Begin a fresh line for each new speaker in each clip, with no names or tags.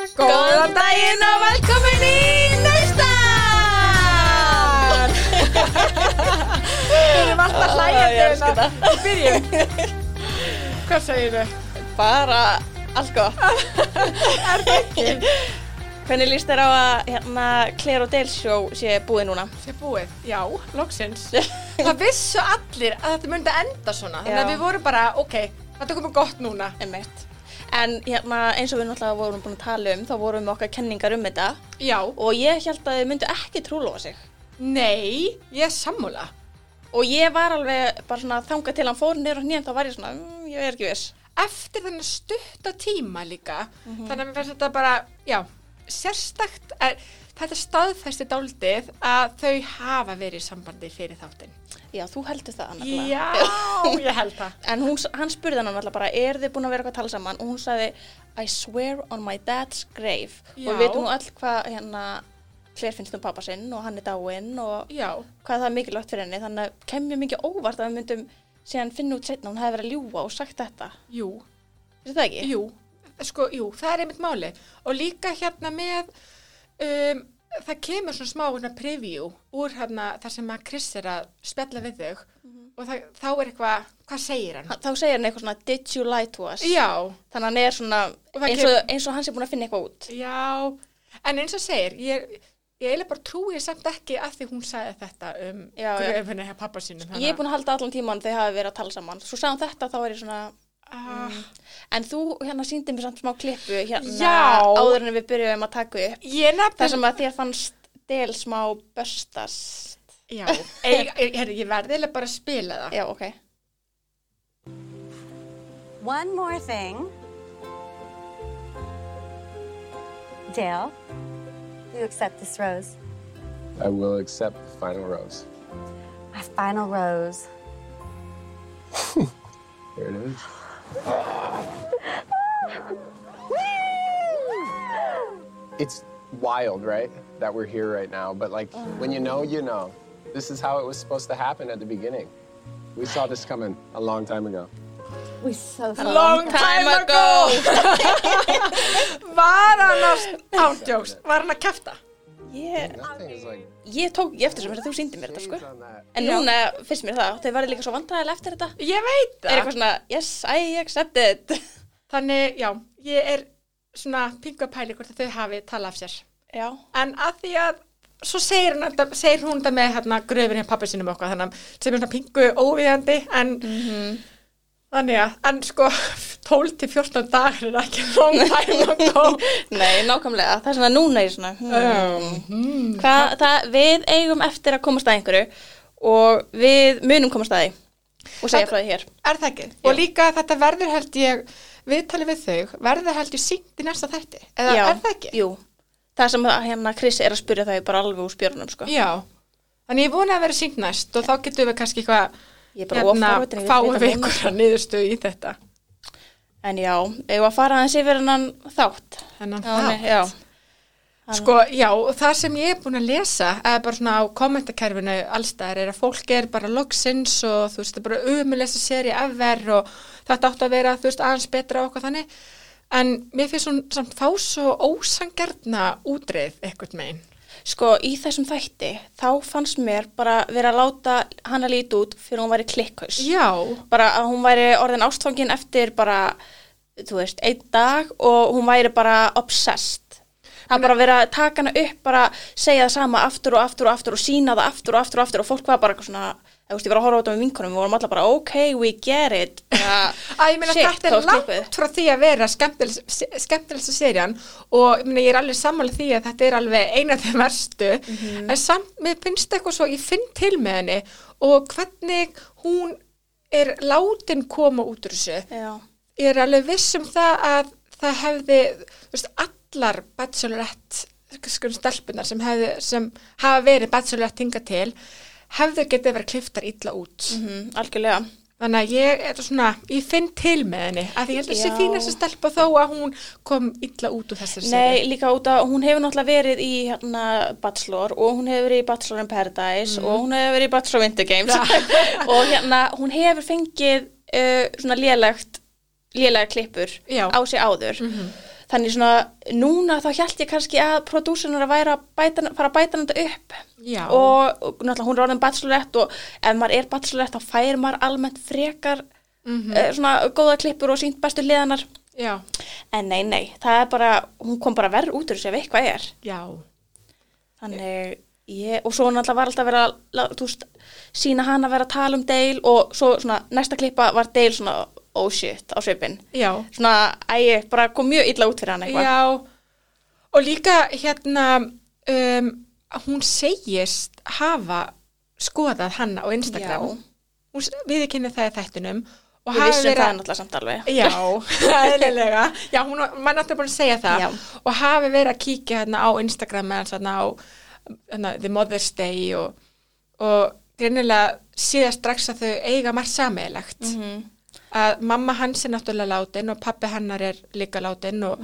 Góðan daginn og velkomin í Naustan! Við erum alltaf
Ó, Ah, ég elska
hlægjandi
það.
hérna. Við byrjum. Hvað segir þau?
Bara allt gott.
Er það ekki?
Hvernig líst þér á að hérna Claire og Dale show sé búið núna?
Sér búið? Já, loksins. Það vissu allir að þetta myndi enda svona. Þannig að
Já.
við vorum bara, ok, þetta komið gott núna.
Emmett. En hérna eins og við náttúrulega vorum búin að tala um, þá vorum við með okkar kenningar um þetta
Já.
og ég held að þau myndu ekki trúlofa sig.
Nei, ég er sammúla.
Og ég var alveg bara svona þangað til hann fór niður og nýjan, þá var ég svona, mm, ég er ekki viss.
eftir þennan stutta tíma líka
Mhm.
þannig að mér finnst þetta bara já, sérstakt er, þetta staðfæsti dáldið að þau hafa verið í sambandi fyrir þáttinn
Já, þú heldur það annarlega.
Já, ég held það
En hún, hann spurði hann alltaf bara, er þið búin að vera eitthvað að tala saman? Og hún sagði, I swear on my dad's grave.
Já.
Og við veitum nú öll hvað hérna, Claire finnst um pappa sinn og hann er dáinn og
Já,
hvað það er mikilvægt fyrir henni. Þannig að kem mjög mikið óvart að við myndum síðan finna út setna, hún hefði verið að ljúga og sagt þetta.
jú,
Veistu það ekki?
jú sko, jú, það er einmitt máli og líka hérna með um, það kemur svona smá hérna, preview úr hérna þar sem að Chris er að spjalla við þau
Mhm.
og það, þá er eitthvað, hvað segir hann?
Hann- Þá segir hann eitthvað svona, did you lie to us?
Já,
Þannig að hann er svona,
Og það
eins og, eins og hann sé búin að finna eitthvað út.
Já, en eins og segir, ég, ég eiginlega bara trúi samt ekki að því hún sagði þetta um
Já, já.
gröfinni hjá pappa sínum.
Ég er búin að halda allan tíman þau hafi verið að tala saman. Svo sagði hann þetta, þá er ég svona,
að...
Mm.
Ah,
En þú hérna síndi mér samt smá klippu hérna
Já.
áður en við byrjuðum að taka upp.
Ég
Þar
nefnum...
sem að þér fannst del smá böstast.
Já, ég, ég, heyrðu, ég verði eiginlega bara að spila það.
Já, ok.
One more thing. Dale, you accept this rose.
I will accept the final rose.
My final rose.
Here it is. It's wild, right? That we're here right now, but like when you know, you know. This is how it was supposed to happen at the beginning. We saw this coming a long time ago.
We so
Long time ago! var hann að... Ándjóks, var hann að kæfta?
Ég,
Nothing is like
ég tók ég eftir sem þetta, þú síndi mér þetta,
things
sko.
on that.
En núna finnst mér það, þau varði líka svo vandræðilega eftir þetta.
Ég veit
Er
það.
eitthvað svona, yes, I accept it.
Þannig, já, ég er svona pingu að pæli hvort að þau hafi talað af sér.
Já.
En að því að svo segir hún þetta, segir hún þetta með hérna, gröfin hjá pappa sínum og eitthvað þannig að sem er svona pingu óvíðandi en Mhm. þannig að, en sko 12 til 14 dagar er ekki long time ago
Nei, nákvæmlega. Það er svona núna ég svona. Hmm. Hvað, það, við eigum eftir að komast að einhverju og við munum komast að því og segja
Það-
frá því hér.
er það ekki? Og líka þetta verður held ég viðtalið við þau, verður held ég sínt í næsta þætti, eða
Já,
er það ekki?
Jú, það sem að, hérna Chris er að spyrja það er bara alveg úr spjörnum sko.
Já, þannig ég vona að vera sínt næst og þá getum við kannski eitthvað
Ég er bara offorvitin, ég veit
hérna fáum
það
við
núna.
einhverja niðurstöðu í þetta
En já, eigum að fara aðeins yfir hennan þátt.
Þennan
Já, nei,
þátt.
Já,
Sko, já, og það sem ég er búin að lesa eða bara svona á kommentarkerfinu allstæðar er að fólk er bara loksins og þú veist, það er bara umulegsta seri ever og þetta átt að vera, þú veist, aðeins betra og eitthvað þannig en mér finnst svona samt þá svo ósangjarna útreið eitthvað megin
Sko, í þessum þætti, þá fannst mér bara vera að láta hana líti út fyrir hún væri klikkhaus.
Já,
Bara að hún væri orðin ástfangin eftir bara, þú veist, einn dag og hún væri bara obsessed. Það er bara að vera að taka hana upp, bara segja það sama aftur og aftur og aftur og sína það aftur og aftur og aftur og fólk var bara eitthvað svona, þú veist, ég var að horfa út á með vinkunum, við vorum allar bara, ok, we get it. Bara,
að ég meina
shit,
þetta
þá
er
var klippið.
langt frá því að vera skemmtilegsta serían og ég, meina, ég er alveg sammála því að þetta er alveg eina af þeim verstu
Mhm.
en samt, mér finnst eitthvað svo, ég finn til með henni og hvernig hún er látin koma út úr þessu
Já.
ég er alveg viss um það að það hefði, þú veist, allar bachelorette skur, stelpunar sem, hefði, sem hafa verið bachelorette hinga til hefðu getið verið kliftar illa út
Mm, algjörlega.
Þannig að ég, þetta er svona, ég finn til með henni að því ég held að þessi
Já.
fín þessi stelpa þó að hún kom illa út úr þessari
Nei, líka út að hún hefur náttúrulega verið í hérna, Bachelor og hún hefur verið í Bachelor in Paradise
Mhm.
og hún hefur verið í Bachelor Winter Games og hérna hún hefur fengið uh, svona lélegt lélega klippur
Já. Mhm.
á sig áður. þannig svona núna þá hjælt ég kannski að prodúsernur að væri að bæta, fara að bæta þetta upp
Já.
og, og náttúrulega hún er orðin bachelorette og ef maður er bachelorette þá fær maður almennt frekar
Mhm.
eh, svona góða klippur og sínt bestu liðanar
já,
en nei, nei, það er bara hún kom bara verð út úr þessu ef eitthvað er
já,
Þannig, ég, og svo náttúrulega var alltaf verið að, lá- þú veist, sína hann að vera að tala um Dale og svo svona, næsta klippa var Dale svona, oh shit, á svipin.
já,
Svona, æg, bara kom mjög illa út fyrir hann eitthvað.
já. Og líka hérna, um, hún segist hafa skoðað hanna á Instagram.
Já.
Hún s- viðurkennir það í þættinum. og
Við
hafi
vissum
verið
það
að-
náttúrulega samt alveg.
Já, eðlilega. Já, hún var maður er náttúrulega búin að segja það
Já.
og hafi verið að kíkja hérna á Instagram eða hérna á hérna, The Mother's Day og, og greinilega síðast strax að þau eiga margt sameigilegt að mamma hans er náttúrulega látin og pappi hennar er líka látin og,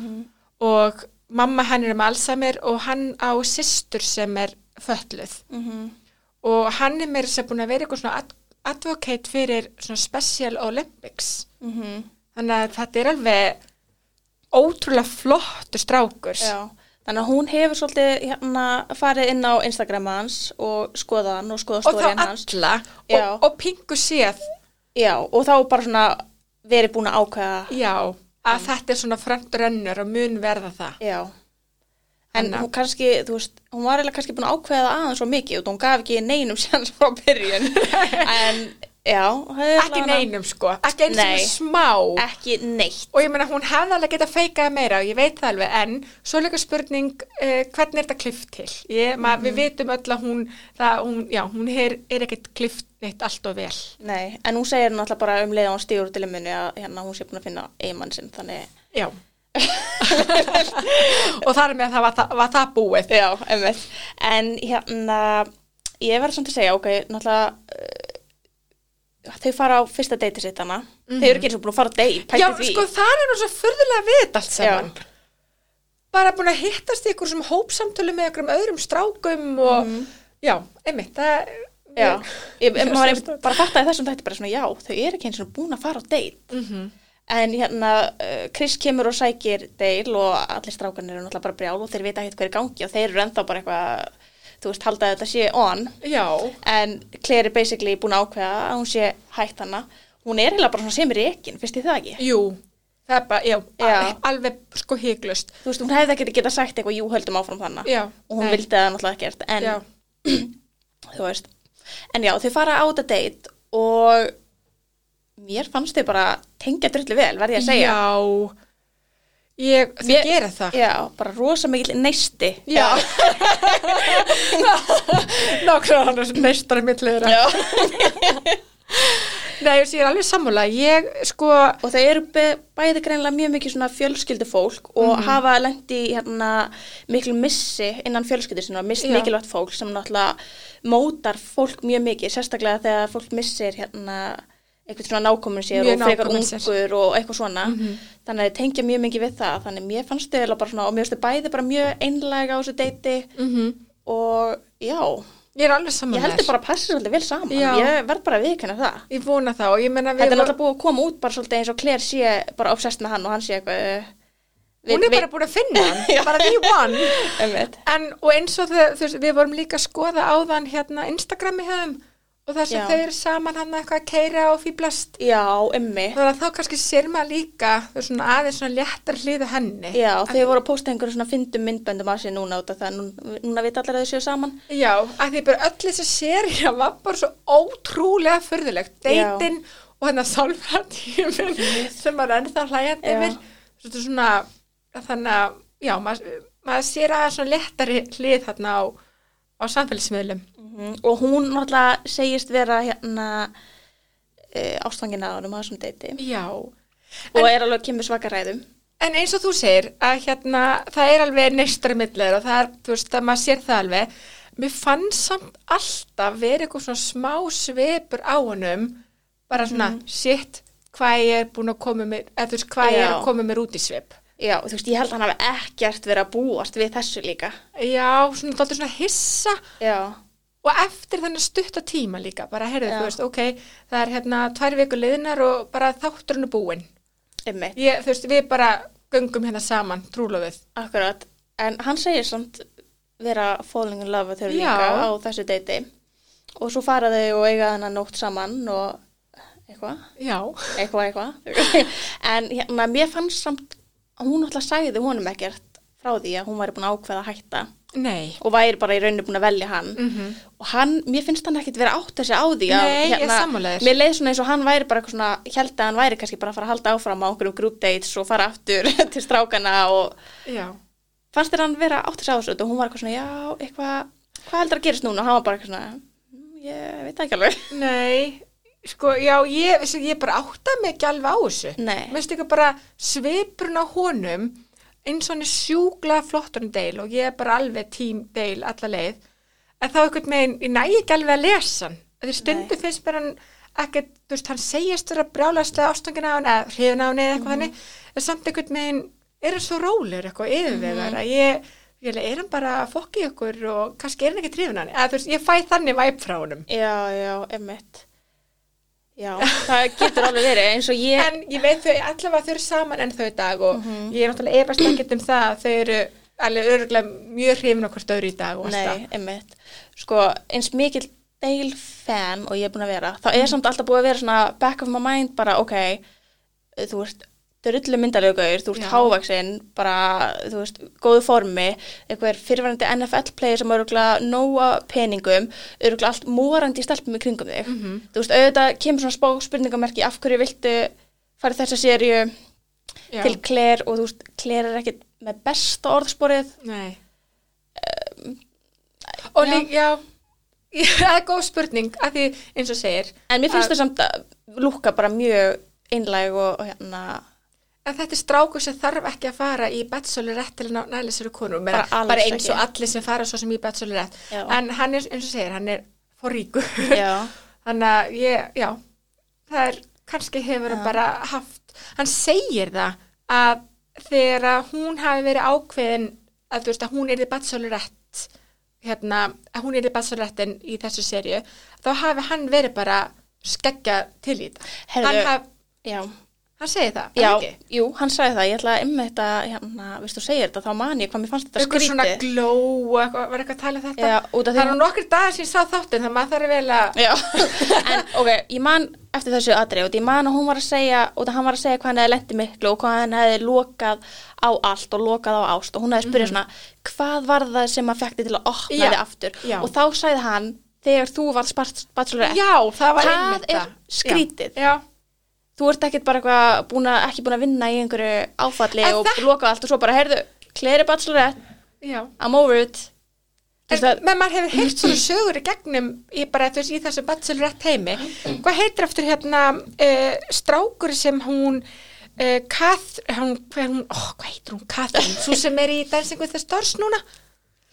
og mamma hennar er með Alzheimer og hann á systur sem er fötluð og hann er meira sem búin að vera eitthvað svona ad advocate fyrir svona Special Olympics
Mhm.
þannig að þetta er alveg ótrúlega flottur strákur
Já. Þannig að hún hefur svolítið hérna farið inn á Instagram hans og skoðað hann og skoðað
og þá
stóriðan hans.
alla
Já.
og, og pingu séð
Já, og þá bara svona verið búin að ákveða
já, að þetta er svona framtrönnur og mun verða það
Já. En
Hanna.
hún kannski, þú veist, hún var eiginlega kannski búin að ákveða það aðeins svo mikið og hún gaf ekki neinum séns frá byrjun. en, já. það er
ekki
allavega-
neinum sko, ekki eins
Nei.
og smá
Ekki neitt.
og ég meina hún hefði alveg getað feikað meira og ég veit það alveg en svo er líka spurning uh, hvernig er þetta klift til ég, ma,
Mhm.
við vitum öll að hún, það, hún, já, hún er, er ekkert klift neitt allt og vel
Nei, en hún segir náttúrulega bara um leið að hún stígur til minni að hérna hún sé búin að finna eigimann sinn, þannig,
já og þar með það var, það var það búið
já, einmitt. En hérna, ég verður samt að segja, ok, náttúrulega, uh, þau fara á fyrsta deiti sitt hana. Þau eru ekki eins og búin að fara á deit, pæti
já
því.
sko það er nú svo furðulega við þetta allt saman
Já.
bara búin að hittast í ykkur sem hópsamtölu með ykkur öðrum strákum og já, einmitt það,
Mhm. Já, ég,
Ég-
maður er bara að fatta í þessum þætti bara svona já, þau eru ekki eins og búin að fara á deit en hérna uh, Chris kemur og sækir deil og allir strákan eru náttúrulega bara brjál og þeir vita ekkert hver er í gangi og þeir eru ennþá bara eitthvað þú veist, halda að þetta sé on
já
en Claire er basically búin að ákveða að hún sé hætt hana hún er eiginlega bara svona sem er reikin, finnst þið það ekki?
Jú, það er bara, já,
Já.
al- alveg sko hygglust.
Þú veist, hún hefði ekkert geta sagt eitthvað, jú, höldum áfram þannig
Já,
og hún
nei.
vildi það náttúrulega ekkert en
Já,
þú veist en já, þau fara á þetta date og mér fannst þau bara tengja drullu vel, verði ég að segja
já, ég, þau
Mér-
gera það.
já, bara rosa mikil neisti
Já. Nákvæmlega hann er meistari mittleira.
Já.
Nei, ég sé ég er alveg sammála. Ég, sko,
og þau eru be- bæði greinlega mjög mikið svona fjölskyldufólk og
Mhm.
hafa lendi hérna miklu missi innan fjölskyldu sinna, misst
Já.
mikilvægt fólk sem náttúrulega mótar fólk mjög mikið, sérstaklega þegar fólk missir hérna eitthvað svona nákomin sér
Mjög
og frekar
nákominn sér. Mhm.
ungur og eitthvað svona þannig að þau tengja mjög mikið við það þannig mér fannst þau eiginlega bara svona og mér fannst þau bæði bara mjög einlæg á þessu deiti -hmm. og já
ég Mhm. er alveg sammála.
ég held þau bara passi svolítið vel saman
Já.
ég verð bara að viðkynna það
Ég vona það og ég menna
Þetta
við
er náttúrulega búið að koma út bara svolítið eins og Claire sé bara obsessed með hann og hann sé eitthvað uh,
hún er bara búin að finna hann, bara the one.
Einmitt.
En, og eins og þau, þú veist, við vorum líka að skoða áðan hérna Instagrami hefum og þess
Já.
að þau eru saman hann eitthvað að keira og fýblast.
Já, emmi
Þannig að þá kannski sér maður líka þú veist, svona aðeins svona léttar hliðu henni.
Já, þau voru að posta einhverjum svona fyndum myndböndum af sér núna út af það núna, núna vita allir að þau séu saman
Já, að því bara öll þessi serið var bara svo ótrúlega fyrðulegt.
Já.
Deitin og þannig að sálfratímin sem maður er ennþá hlægjandi
Já.
yfir. Svolítið svona, þannig að, já, maður, maður sér aðeins svona léttari hlið þarna á, á samfélagsmiðlum.
og hún náttúrulega segist vera hérna uh, ástfangin að honum að þessum deiti
Já,
og er alveg kemur svaka ræðum
en eins og þú segir að hérna, það er alveg neistari millir og það er, þú veist, að maður sér það alveg. Mér fann samt alltaf verið eitthvað svona smá sveipur á honum, bara svona, shit, hvað ég er búin að koma mér, eða þú veist, hvað ég er
Já.
að koma mér út í sveip.
Já, og þú veist, ég held að hann hafi ekkert verið að búast við þessu líka
Já, svona, það er svona hissa
Já,
og eftir þannig stutta tíma líka, bara, heyrðu,
Já.
þú veist, ok, það er hérna tvær viku liðnar og bara þátturinn er búinn.
emmi
Ég, þú veist, við bara, göngum hérna saman, trúlofið.
Akkurat, en hann segir samt vera falling in love with her
Já.
líka á þessu deiti og svo fara þau og eiga þennan nótt saman og eitthvað,
Já,
eitthvað, eitthvað en hérna, mér fannst samt að hún alltaf sagði honum ekkert frá því að hún væri búin að ákveða að hætta
nei.
og væri bara í rauninu búin að velja hann og hann, mér finnst hann ekkert vera átt þessi á því að,
Mhm.
hérna,
Nei, ég er sammála þér.
mér leið svona eins og hann væri bara eitthvað svona, held að hann væri kannski bara að fara að halda áfram á einhverjum group dates og fara aftur til strákana og
Já.
fannst þér hann vera átt að segja þessu og hún var eitthvað svona, já, eitthvað hvað heldur að gerist núna? Og hann var bara eitthvað svona "Mm, ég veit það ekki alveg
Nei, sko, já, ég, veistu, ég bara átta mig ekki alveg á þessu.
Nei.
Veistu ekki bara svipurinn á honum, eins og hann er sjúkla flotturinn deil og ég er bara alveg tím deil alla leið. En þá einhvern veginn, ég næ ekki alveg að lesa hann. Því stundu finnst mér hann ekkert, þú veist, hann segist vera brjálæslega ástungin á hann eða hrifin á hann eða eitthvað þannig. En samt einhvern veginn er hann svo rólegur eitthvað yfirvegar að ég, ég leið, er hann bara að fokki ykkur og kannski er hann ekki hrifin á hann. Eða þú veist, ég fæ þannig væp frá honum.
já, já, emmitt já, það getur alveg verið eins og ég
en ég veit þau allavega þau eru saman enn þau í dag og
Mhm.
ég er náttúrulega efast ekkert um það að þau eru alveg örgulega mjög hrifin okkur stöður í dag og allt það.
nei, emmitt sko, eins mikill deil fan og ég er búin að vera þá
Mhm.
er samt alltaf búið að vera svona back of my mind bara, ok, þú veist drullu myndalögur, þú
Já.
ert hávaksinn bara, þú veist, góðu formi einhver fyrirværendi NFL-player sem öruglega nóa peningum öruglega allt morandi í stelpum í kringum þig
Mhm.
þú veist, auðvitað kemur svona spá spurningamerki af hverju viltu fara í þessa sériu
Já.
til Claire og þú veist, Claire er ekkit með besta orðsporið
Nei. og
Ehm, já.
líka, já, það er góð spurning að því eins og segir
En mér finnst
að,
það samt að lúka bara mjög einlæg og, og hérna
að þetta er strákur sem þarf ekki að fara í bachelorette til að ná- næla sér úr konum, Meina,
Bara alls
bara eins
ekki.
og allir sem fara svo sem í bachelorette,
Já.
en hann er eins og segir, hann er for ríkur
Já.
þannig að ég, já það er, kannski hefur hann bara haft hann segir það að þegar að hún hafi verið ákveðin að þú veist að hún er þið bachelorett hérna, að hún er þið bachelorettin í þessu serju, þá hafi hann verið bara skeggja til í það
Heyrðu,
hann, haf,
Já,
hann segir það,
já
er ekki
jú, hann sagði það, ég ætla að emmi þetta, hérna, viðst þú segir þetta, þá man ég hvað mér fannst þetta
eitthvað svona
skrítið.
gló og eitthvað, var eitthvað að tala um þetta
Já, út af því
það eru
hún-
nokkri dagar sem ég sá þáttin þannig að maður þarf vel að
Já, en ok, ég man eftir þessu atrið og ég man að hún var að segja, og það hann var að segja hvað hann hefði lendi miklu og hvað hann hefði lokað á allt og lokað á ást og hún hefði spyrjað svona, hvað var það sem að fekti til að opna
Mhm. Já,
þig aftur?
já.
Og þá sagði hann, þegar þú varst bachelorett,
já, það var
Það
einmitt
er
það.
skrítið.
já, já.
þú ert ekkert bara eitthvað búin að, ekki búin að vinna í einhverju áfalli
En
og
það-
loka allt og svo bara, heyrðu, Claire er bachelorette,
Já,
I'm over it. Þú
en
veist Mm-hmm. að-
menn maður hefur heyrt svona sögur í gegnum í bara þú veist í þessu bachelorette heimi hvað heitir aftur hérna uh, strákur sem hún uh, Kath, hún, hvað, hún, ó, hvað heitir hún Kathryn, svo sem er í Dancing with the Stars núna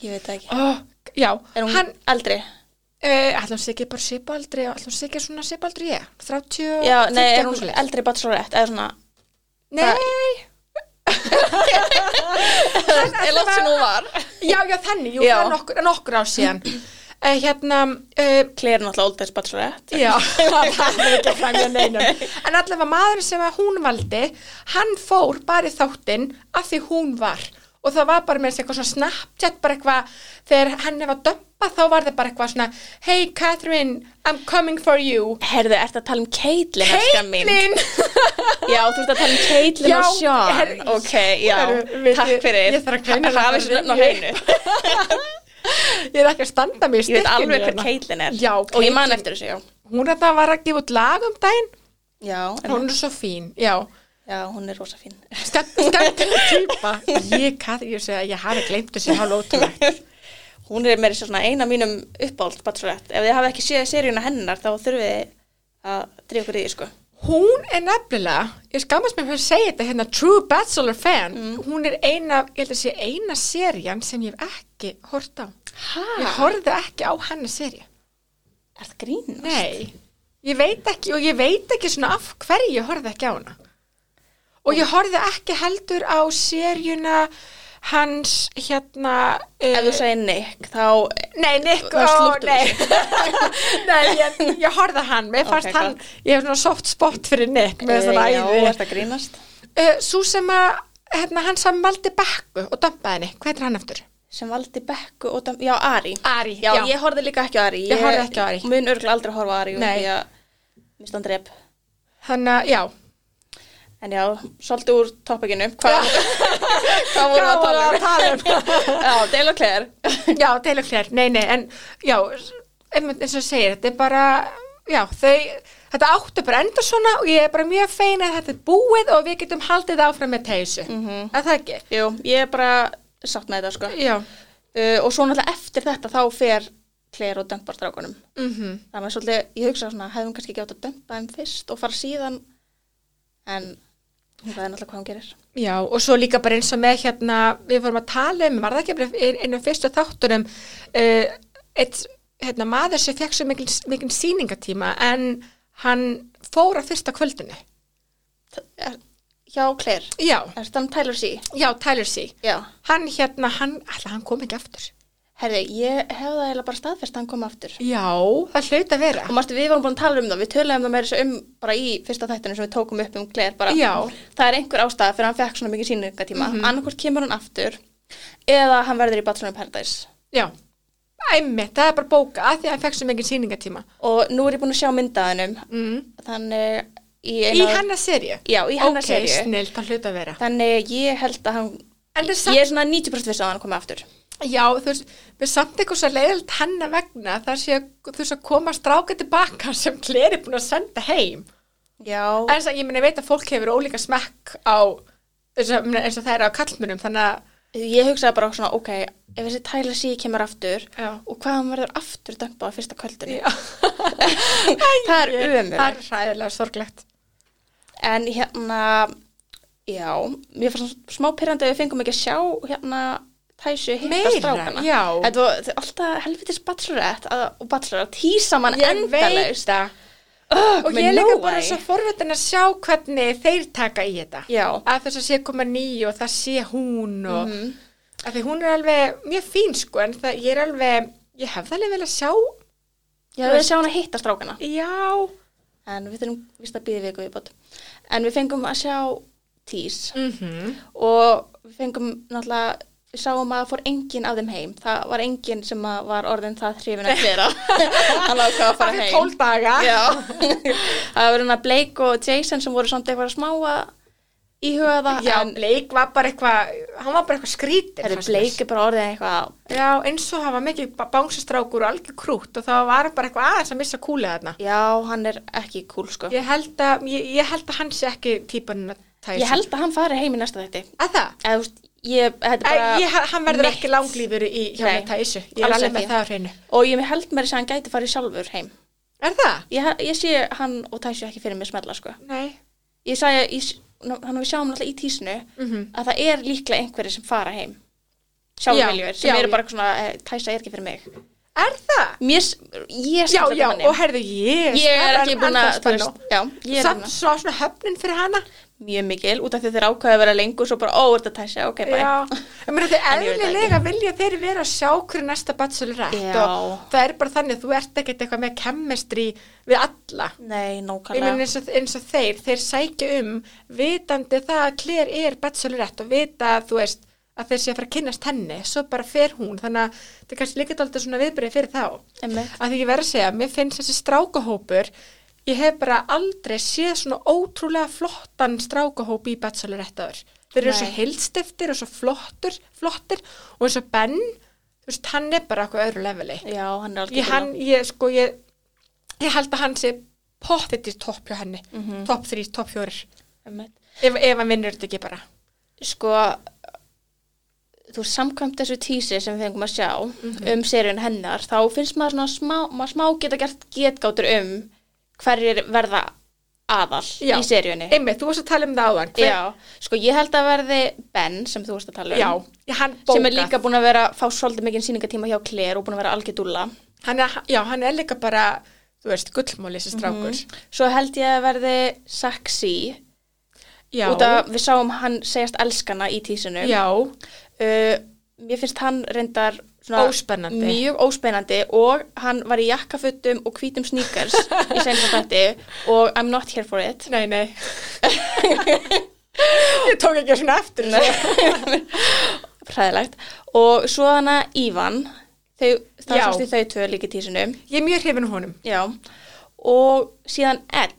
Ég veit það ekki.
oh, já,
Er hún
hann
eldri?
uh, allan sé ekki bara sipaldri allan sé ekki svona sipaldri ég 30
Já, nei,
50
er hún
eitthvað
eldri bachelorette, eða svona,
svoleiðis.
er langt sem hún var.
nei, já, já, þannig, jú,
Já.
það er nokkur, nokkur á síðan uh, hérna uh,
Claire er náttúrulega oldest bachelorette.
Já, það er ekki framlega neinum. En allavega maðurinn sem að hún valdi, hann fór bara í þáttinn af því hún var. Og það var bara með þessi eitthvað svona Snapchat, bara eitthvað, þegar henni var dömpa þá var það bara eitthvað svona Hey Catherine, I'm coming for you.
Herðu, ertu að tala um Caitlyn, elskan mín?
Caitlyn!
Já, þú ert að tala um Caitlyn
Já,
og Sean.
herru,
ok, já,
herru, við-
takk fyrir.
ég þarf að greina
Ha- hafið
þetta
þessu nöfn á
lengi.
hreinu.
Ég er ekki að standa mig í
Ég
styrkinu.
veit alveg hver Caitlyn er.
hérna. Já,
Og ég man eftir þessu, já.
Hún er það að var að gefa út lag um daginn.
Já,
Hún er svo fín, já.
já, hún er rosa fín.
Stöndilega týpa. Ég, Katrín, ég, segi að ég hafi gleymt þessi hálf ótrúlega.
hún er meira sér svona eina mínum uppáld bachelorette. Ef þið hafa ekki séð seríuna hennar þá þurfið þið að drífa ykkur í því sko.
Hún er nefnilega, ég skammast mér fyrir að segja þetta hérna, True Bachelor fan,
Mm.
hún er eina, ég held að sé eina serían sem ég hef ekki hort á.
Hæ?
Ég horfði ekki á hennar seríu.
Er það grínast?
Nei, ég veit ekki og ég veit ekki svona af hverju ég horfði ekki á hana. Og ég horfði ekki heldur á seríuna hans hérna... eh,
Ef þú segir Nick þá
Nei, Nick,
Þá
ó,
slúttu
nei Nei, ég, ég horfði á hann Mér
Ok,
fannst hann,
gott.
ég hef svona soft spot fyrir Nick með svona
Eh, Já,
æði
er það grínast?
uh, Sú sem að hérna, hann sem valdi bekku og dampaði henni, hvað er hann eftir?
sem valdi Bekku og dam, já, Ari.
Ari,
já,
já.
ég horfði líka ekki á Ari.
Ég horfði ekki á Ari.
Mun örgulega aldrei horfa á Ari.
Nei.
Því að mista hann drep.
Þannig að, já,
En já, svolítið úr toppikinu. Hvað hva voru að tala um?
tala um?
Já, Dale og Claire.
Já, deilum flér, nei, nei, en já, einmitt eins og þú segir, þetta er bara, já, þau, þetta áttu bara að enda svona og ég er bara mjög fein að þetta er búið og við getum haldið áfram með teysu, mm -hmm. að það ekki?
Jú, ég er bara sátt með þetta, sko.
Já,
Uh, og svo náttúrulega eftir þetta þá fer Claire og dömpar strákunum.
mhm,
Það er maður svolítið, ég hugsa svona, hefðum kannski ekki átt að dömpa þeim fyrst og fara síðan. En hún veður náttúrulega hvað hún gerir.
já, og svo líka bara eins og með hérna, við vorum að tala um, var það ekki bara ein- einu af fyrstu þáttunum, uh, eitt, hérna, maður sem fekk svo mikil, mikil sýningatíma en hann fór að fyrsta kvöldinu.
Það er- Hjá Claire.
Já,
Er þetta hann Tyler C?
já, Tyler C.
Já.
Hann hérna, hann, alltaf hann kom ekki aftur.
Herði, ég hefði það eiginlega bara staðfest að hann kom aftur.
Já, það hlaut að vera.
Og marstu, við vorum búin að tala um það, við töluðum það meira svo um bara í fyrsta þættinu sem við tókum upp um Claire bara.
Já.
Það er einhver ástæða fyrir að hann fekk svona mikið síningatíma. Mm kemur hann aftur eða hann verður í Bachelor in Paradise.
Já, æmmitt, það er bara bóka að því að hann fekk svo mikið síningatíma.
Og nú er ég búin að sjá myndaðinum. Mm. Þannig í
Í
eina...
hennar serju?
Já, í hennar
Ok,
seríu.
snill, það hlaut að vera.
Þannig eh, ég held að hann...
En það er
Ég
samt,
er svona 90% viss að hann komi aftur.
já, þú veist, við samt eitthvað svo leiðilt hennar vegna þar sé að, þú veist, að koma stráka tilbaka sem Kleri er búin að senda heim.
Já.
En þess að ég meina, ég veit að fólk hefur ólíka smekk á, eins og, ég meina, eins og það er á kallmönum, þannig að,
Ég hugsaði bara svona, ok, ef þessi Tyler C kemur aftur
Já.
og hvað hann verður aftur dömpað á fyrsta kvöldinu.
já,
Það er
það
umur.
er hræðilega sorglegt.
En hérna, já, mér fannst svona smá pyrrandi að við fengum ekki að sjá hérna tæsu hitta
Meira,
strákana.
já.
Þetta var þetta er alltaf helvitis bachelorette að, og bachelorette tísa mann endalaust.
það.
Ugh,
Og
með
ég er líka
Nói.
bara svo forvitin að sjá hvernig þeir taka í þetta.
Já,
að þess að sé koma nýju og það sé hún og mm að því hún er alveg mjög fín sko en það, ég er alveg, ég hef það alveg vel að sjá
ég hefði að sjá hann að hitta strákana.
já,
En við þurfum vist að býða viku viðbót. En við fengum að sjá tís
mm
Mhm.
-hmm.
og við fengum náttúrulega við sáum að það fór enginn af þeim heim það var enginn sem að var orðin það hrifin að vera hann ákvað að fara
það er
heim
tólf daga
Já, það var hérna Blake og Jason sem voru samt eitthvað að smá að íhuga það
já,
en
Blake var bara eitthvað hann var bara eitthvað skrítin
herri,
fannst mér.
Blake er bara orðið eitthvað
já, eins og hann var mikið bánsastrákur og algjör krútt og þá var hann bara eitthvað aðeins að missa kúlið þarna
já, hann er ekki cool sko ég,
ég held að, ég, ég held að hann sé ekki típan að tæsa
held að hann fari heim í næsta þætti
að það
eða þú veist, ég, þetta er bara
Æ, ég, hann verður
mitt.
ekki langlýfur í hjá
Nei,
með tæsu ég er
alls
alveg
ekki.
með það á hreinu
og ég held mér að hann gæti farið sjálfur heim
er það?
ég, ég sé hann og Tæsju ekki fyrir mér smella sko
nei
ég sagði að í- ná- þannig að við sjáum alltaf í tísinu
Mhm.
að það er líklega einhverjir sem fara heim sjálfviljur, sem
já,
eru
já.
bara eitthvað svona eh, Tæsa er ekki fyrir mig
Er það?
Mér, s- ég
Já,
samsaka
já,
manni.
og herðu, ég
ég er ekki búin að, þú veist,
veist,
já, ég er
Samt
búin
svo svona höfnin fyrir hana
að mjög mikil, út af því þeir ákvæða að vera lengur svo bara, ó, er þetta tæsja, ok, bæ
Já, ég meina
En ég veit
þeir
það
eðlilega vilja þeir vera að sjá hverju næsta bachelorette
Já.
og það er bara þannig að þú ert ekkert eitthvað með chemistry við alla
Nei,
ég meina
nókala
eins, og- eins og þeir, þeir sækja um vitandi það að Claire er bachelorette og vita að þú veist að þeir sé að fara að kynnast henni, svo bara fer hún þannig að þetta er kannski líka dálítið svona viðbyrðið fyrir þá að því ég verð að segja, mér finnst þessi strákahópur ég hef bara aldrei séð svona ótrúlega flottan strákahóp í bachelorettaður þeir eru
Nei.
svo heilstiftir og svo flottur flottir og eins og Ben þú veist, hann er bara eitthvað öðru leveli
Já, hann er
ég,
aldrei
hann, ég, sko, ég, ég held að hann sé pottitt í topp hjá henni
Mhm.
topp þrý, topp fjórir
Einmitt.
ef, ef hann vinnur þetta ekki bara
Sko þú samkvæmt þessu tísi sem við fengum að sjá
Mhm.
um seríun hennar, þá finnst maður svona smá, maður smá geta gert getgátur um hverjir verða aðal
Já.
í seríunni
einmitt, þú varst að tala um það áðan Hver-
Já, sko ég held að verði Ben sem þú varst að tala um
já, ég- hann
sem er
bókað
líka búin að vera fá svolítið mikið sýningatíma hjá Claire og búin að vera algjör dúlla
hann er, já, hann er líka bara þú veist, gullmóli þessi strákur
svo held ég að verði sexy
já,
út af við sáum hann segjast elskana í tísinu
já,
uh, mér finnst hann reyndar
Óspennandi.
mjög óspennandi og hann var í jakkafuttum og hvítum sneakers í senast þætti og I'm not here for it
Nei, nei. Ég tók ekki svona eftir þessu.
Hræðilegt. Og svo hana Ívan, þau, það
Já.
er svolítið þau tvö líka í tísinu.
Ég er mjög hrifin af honum.
Já. Og síðan Ed,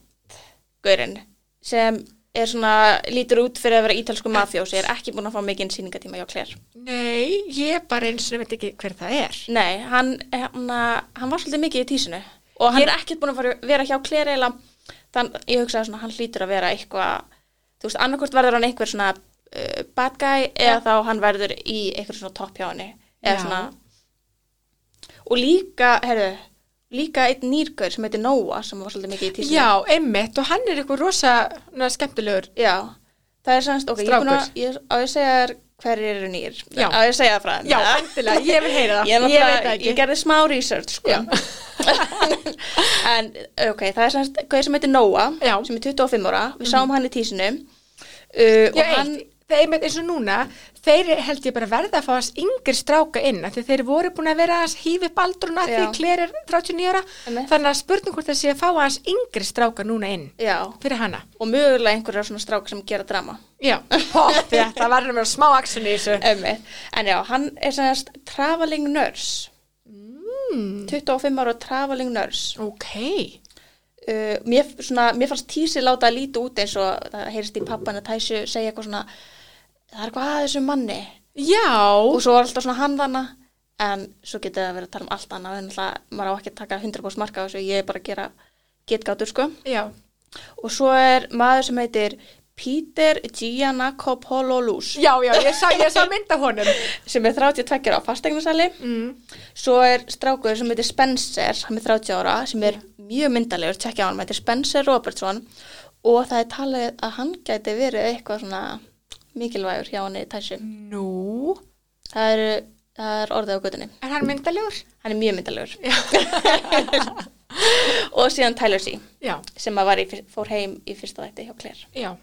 gaurinn, sem er svona, lítur út fyrir að vera ítalsku mafjósi, er ekki búin að fá mikinn sýningatíma hjá Claire.
Nei, ég bara eins og veit ekki hver það er.
Nei, hann, hann, hann var svolítið mikið í tísinu og hann er ekkert búin að fara- vera hjá Claire eiginlega þannig ég hugsaði svona hann hlýtur að vera eitthvað þú veist, annarkvort verður hann einhver svona uh, bad guy eða þá hann verður í einhver svona topp hjá henni eða
Já.
svona og líka, herru líka einn nýrgur sem heitir Noah sem var svolítið mikið í tísinu
Já, einmitt og hann er eitthvað rosa na, skemmtilegur.
Já. það er sannst, ok, ég er búin að
Strákur.
ég, er- á ég að segja þér hverjir eru nýr
Já.
á ég að segja það frá þeim
Já,
eða?
endilega, ég vil heyra
ég,
það.
er
ég veit það
náttúrulega-
ekki.
ég gerði smá research sko.
Já.
en ok, það er semst gauð sem heitir Nóa
Já.
sem er 25 ára, við sáum hann í tísinu uh, og
Já,
hann
eitt, það er einmitt eins og núna, þeir held ég bara verða að fá þess yngri stráka inn, af því þeir voru búin að vera að hífi baldruna því
Já.
Claire er 39 ára,
Einmitt.
þannig að spurning hvort það sé að fá hans yngri stráka núna inn,
já,
fyrir hana.
og mögulega einhverjar svona strák sem gera drama
Já, hopp, þetta verður að vera smá aksjun í þessu.
Ömmið. en já, hann er semst traveling nurse mm. 25 ára traveling nurse
Ok,
uh, mér, svona, mér fannst tísi láta að líti út eins og það heyrist í pappan að tæsu segja eitthvað svona það er eitthvað að þessum manni og
já,
svo var alltaf svona hann þarna en svo getið það verið að tala um allt annað en alltaf maður á ekki að taka 100% marka á þessu ég er bara að gera getgátur sko
já,
og svo er maður sem heitir Peter Giannakopololus
já, já, ég sá, ég sá mynda honum.
sem er 32 ára á fasteignarsali
Mm.
svo er strákur sem heitir Spencer hann er 30 ára sem er mjög myndalegur tjekkja á hann, hann heitir Spencer Robertson og það er talið að hann gæti verið eitthvað svona mikilvægur hjá hann í tæsju
Nú,
það er, það er orðið á götunni
er hann myndalegur?
hann er mjög myndalegur og síðan Tyler C
Já.
sem að var í, fyr- fór heim í fyrsta þætti hjá Claire
Já,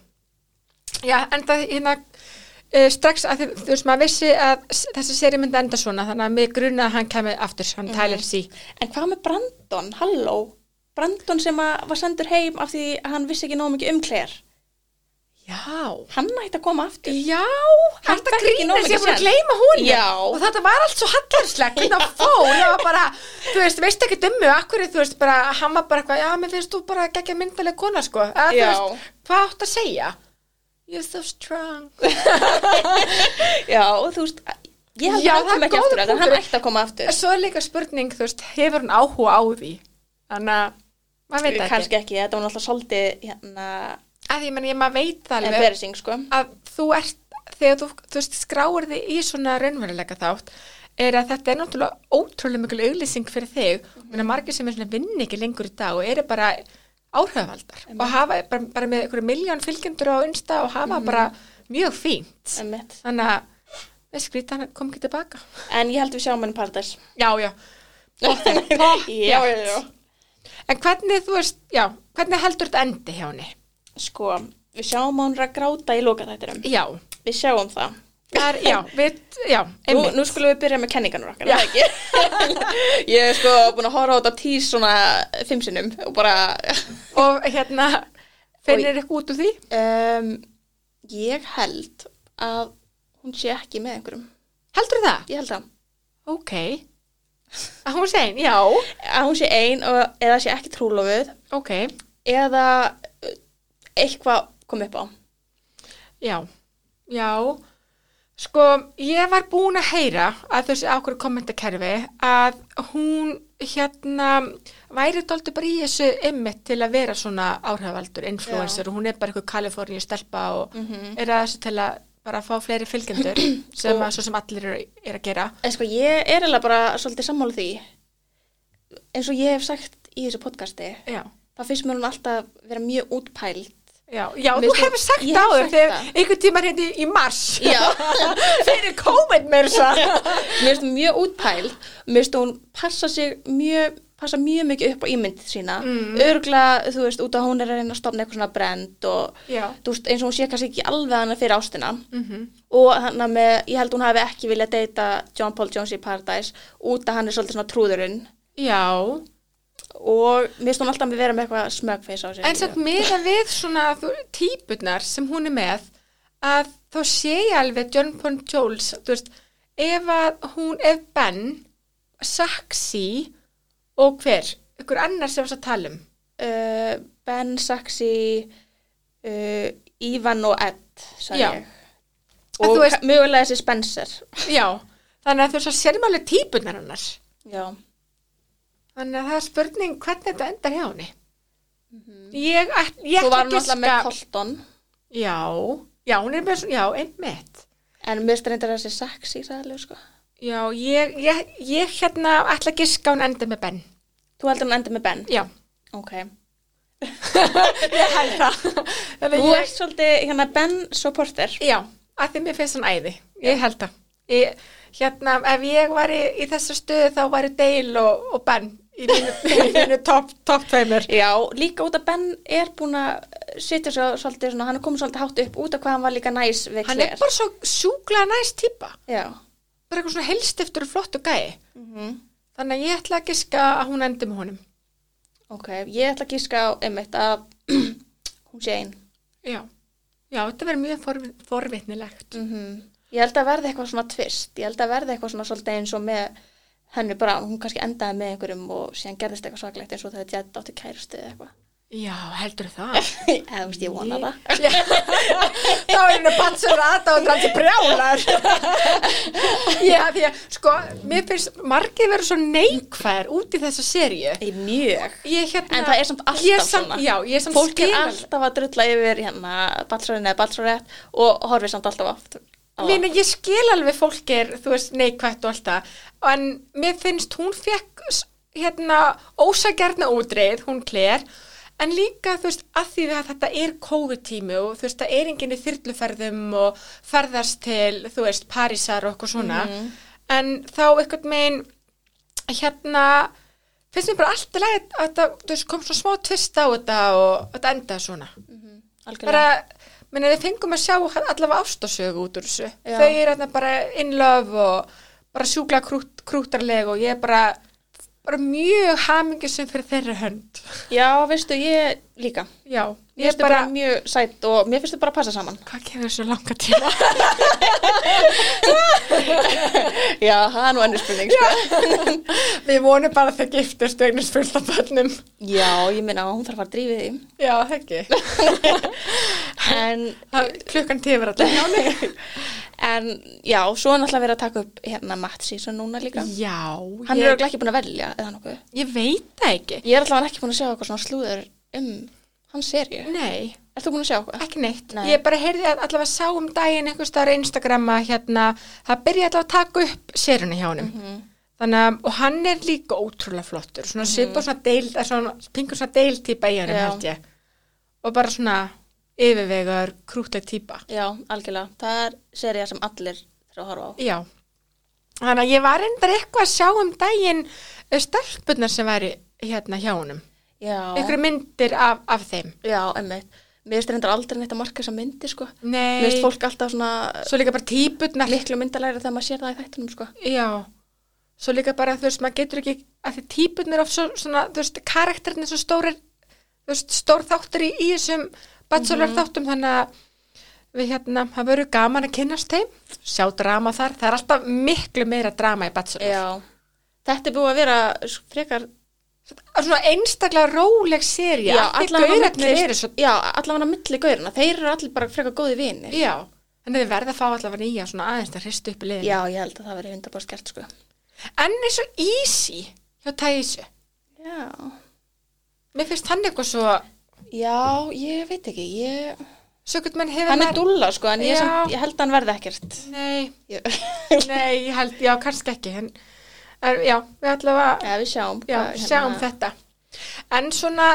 já en það hérna uh, strax að þið, þú veist maður vissi að s- þessi seri myndi enda svona þannig að mig gruna að hann kemur aftur, hann mm. tælir
Mhm.
sí.
en hvað með Brandon, halló Brandon sem að var sendur heim af því að hann vissi ekki nóg mikið um Claire
Já,
hann ætti að koma aftur
já,
Hann
þetta
fekk ekki
grínir
nóg
sem ég
mikið
búin að
séns.
gleyma hún
Já.
og þetta var allt svo hallarslegt þetta fór, það var bara, þú veist, veist ekki dömmu, akkur þú veist bara, hann var bara eitthvað, já, mér finnst þú bara geggja myndaleg kona sko, eða þú
Já.
veist, hvað átt að segja? You're so strong.
já, og þú veist ég held
Já,
að hann
það er
kom ekki aftur
góður
en hann
punktur.
ætti að koma aftur
Svo er líka spurning, þú veist, hefur hann áhuga á því? Þannig að maður veit það ekki.
kannski ekki, þetta var náttúrulega svolítið hérna,
að ég menn ég maður veit það alveg
embarrassing sko
að þú ert þegar þú, þú veist, skráir þig í svona raunveruleika þátt er að þetta er náttúrulega ótrúlega mikil auglýsing fyrir þig mm -hmm. margir sem er svona vinni ekki lengur í dag og eru bara áhrifavaldar og hafa bara, bara með einhverju miljón fylgjendur á unsta og hafa bara mjög fínt
Einmitt.
þannig að við skrýta hann kom ekki tilbaka
en ég held við sjáum henni Paradise
já, já,
já, já, já
en hvernig þú veist já, hvernig heldur þetta endi hjá henni
sko, við sjáum hann að gráta í lokaþættinum
já,
við sjáum það
það er, já, við já,
nú,
einmitt.
nú skulum við byrja með kenninganur okkar er það ekki? ég er sko búin að horfa á þetta tís svona fimm sinnum og bara
og hérna finnir eitthvað út úr því
um, ég held að hún sé ekki með einhverjum
heldur það?
ég held að,
ok að hún segir, já
að hún sé ein og, eða sé ekki trúlofuð
ok,
eða uh, eitthvað kom upp á
já já sko, ég var búin að heyra að þessi ákveður kommentakerfi að hún hérna væri dóldi bara í þessu ymmit til að vera svona áhrifavaldur influencer og hún er bara eitthvað Kaliforníu stelpa og
Mhm.
er að þessu til að bara fá fleiri fylgjendur sem að svo sem allir eru er að gera
en sko ég er eða bara svolítið sammála því eins og ég hef sagt í þessu podcasti
já,
þá finnst mér hún alltaf vera mjög útpælt
já, já
Mér
þú
finnst-
hefur sagt
ég hef
áður
sagt
þegar
það.
einhvern tíma hérna í mars
Já,
fyrir COVID með þess að
mér finnst hún mjög útpæld mér finnst hún passa sig mjög passa mjög mikið upp á ímynd sína mm. örgla, þú veist, út af hún er að reyna að stopna eitthvað svona brend og
Já.
þú veist, eins og hún sé kannski ekki alveg hana fyrir ástina -hmm. og þannig að með, ég held hún hafi ekki viljað deyta John Paul Jones í Paradise út að hann er svolítið svona trúðurinn
Já,
og mér finnst hún alltaf að vera með eitthvað smögfeis á sig
en samt meða við svona þú- típurnar sem hún er með að þá sé ég alveg John Bon Jones, þú veist, ef að hún, ef Ben, Saxi og hver, ykkur annar sem varst að tala um.
uh, Ben, Saxi, uh, Ivan og Ed, sagði
Já.
ég.
En
Og
þú veist-
ka- mögulega þessi Spencer.
Já, þannig að þú veist að sérum alveg típunar annars.
Já.
Þannig að það er spurning hvernig þetta endar hjá henni. Mhm. Ég, ætl- ég
Svo
ætla
var
að
hún alltaf með
giska.
Colton,
Já, já, hún er með svona, já, einmitt.
en mér stendur þessi Saxi, sagði ég, sko.
Já, ég, ég, ég hérna ætla að giska hún endar með Ben.
Þú heldur hún endur með Ben?
Já.
Ok.
Ég held það.
Þú
Þannig að
ert svolítið, hérna, Ben supporter.
Já, að því mér finnst hann æði. Ég held það. Ég, hérna, ef ég var í, í þessu stöðu þá væri Dale og, og Ben í mínu, í mínu topp top tveimur.
Já, líka út að Ben er búin að sitja svo svolítið svona, hann er komið svolítið hátt upp út af hvað hann var líka næs við
Hann er
Claire.
bara svo sjúkla næst típa.
Já.
Bara eitthvað svona helstiftur og flott og gæi.
Mm
Þannig að ég ætla að giska að hún endi með honum.
Ok, ég ætla að gíska á einmitt að hún sé einn.
Já, já þetta verður mjög forvi- forvitnilegt.
Ég held að verði eitthvað svona tvist, ég held að verði eitthvað svona svolítið eins og með hennu bara, hún kannski endaði með einhverjum og síðan gerðist eitthvað svaklegt eins og þegar Jett átti kærustu eða eitthvað.
Já, heldur það.
Eða, þú veist, ég vona það.
Já. Þá er henni batsur aðdáður hans í brjálar. Já, því að, sko, mér finnst margir verður svo neikvæðar út í þessa seríu.
Ég mjög.
Ég hérna...
En það er samt alltaf
ég er samt,
svona.
Já, ég er samt
Fólk er
skilal-
alltaf að drulla yfir hérna bachelorinn eða bachelorett og horfið samt alltaf aftur. á það.
Mér, ég skil alveg fólk er, þú veist, neikvætt og allt það, en mér finnst hún fekk s- hérna ósagjarna útreið, hún kler, en líka, þú veist, að því að þetta er COVID-tími og þú veist, það er enginn í þyrluferðum og ferðast til, þú veist, Parísar og eitthvað svona, en þá eitthvað megin, hérna, finnst mér bara alltaf leið að þetta, þú veist, kom svona smá tvist á þetta og þetta endaði svona bara,
Algjörlega.
menn við fengum að sjá allavega ástasögu út úr þessu
Já.
þau eru þarna bara in love og bara sjúkla krút, krútarleg og ég er bara, bara mjög hamingisum fyrir þeirra hönd
Já, veistu, ég líka.
já,
Ég
ég
finnst
er
þau bara,
bara,
mjög sætt og mér finnst þau bara að passa saman.
hvað kemur þessu langa tíma
Já, það er nú ennur spurning, sko.
við vonum bara að þau giftist og eignast fullt af börnum
Já, ég minna að hún þarf að fara að drífið því.
já, það ekki
En,
Það- klukkan tífur allavega
en já, svo er náttúrulega verið að taka upp hérna Matt season núna líka.
já,
Hann er
ég,
auðvitað ekki búin að velja eða nokkuð.
ég veit það ekki
Ég er allavega ekki búin að sjá eitthvað svona slúður um hans serju.
nei
Er þú búin að sjá eitthvað?
ekki neitt,
Nei.
ég bara heyrði að allavega sá um daginn einhvers staðar á Instagram að hérna, það byrja allavega að taka upp séruna hjá honum
Mhm.
þannig að, og hann er líka ótrúlega flottur svona mm -hmm. svipa svona deild að svona, pingur svona deildtípa í honum
Já.
held ég og bara svona yfirvegar krútleg típa
Já, algjörlega. Það er serja sem allir þurfa að horfa á.
já, þannig að ég var endar eitthvað að sjá um daginn eh, stelpurnar sem væri hérna hjá honum
Já.
einhverju myndir af, af þeim
Já, emmitt. Mér finnst reyndar aldrei neitt að marka þessa myndi, sko. Mér
Nei,
finnst fólk alltaf svona
svo líka bara típurnar
miklu myndalæri þegar maður sér það í þættunum, sko.
Já, svo líka bara þú veist, maður getur ekki, að því típun er of svo, svona, þú veist, karakterin er svo stórir, þú veist, stór þáttur í, í þessum bachelor
Mhm.
þáttum, þannig að við hérna, það verður gaman að kynnast þeim, sjá drama þar, það er alltaf miklu meira drama í bachelor.
Já. Þetta er búið að vera s- frekar...
Það er svona einstaklega róleg séri, allir
allavega
gaurarnir
milli-
eru svo,
Já, allavega á milli gaurina. Þeir eru allir bara frekar góði vinir.
já, en þið verða að fá allavega nýja svona aðeins að hristu upp í liðin.
Já, ég held að það veri 100% gert, sko.
En eins og easy hjá Tæsu,
Já.
mér finnst hann eitthvað svo,
Já, ég veit ekki. Ég...
sökut menn hefur
Hann er
maður-
dúlla, sko, en ég,
Já.
samt, ég held að hann verði ekkert.
Nei,
Ég...
Nei, ég held, já, kannski ekki en, en já, við allavega
Já, hérna. við sjáum.
já,
hvað,
sjáum þetta en svona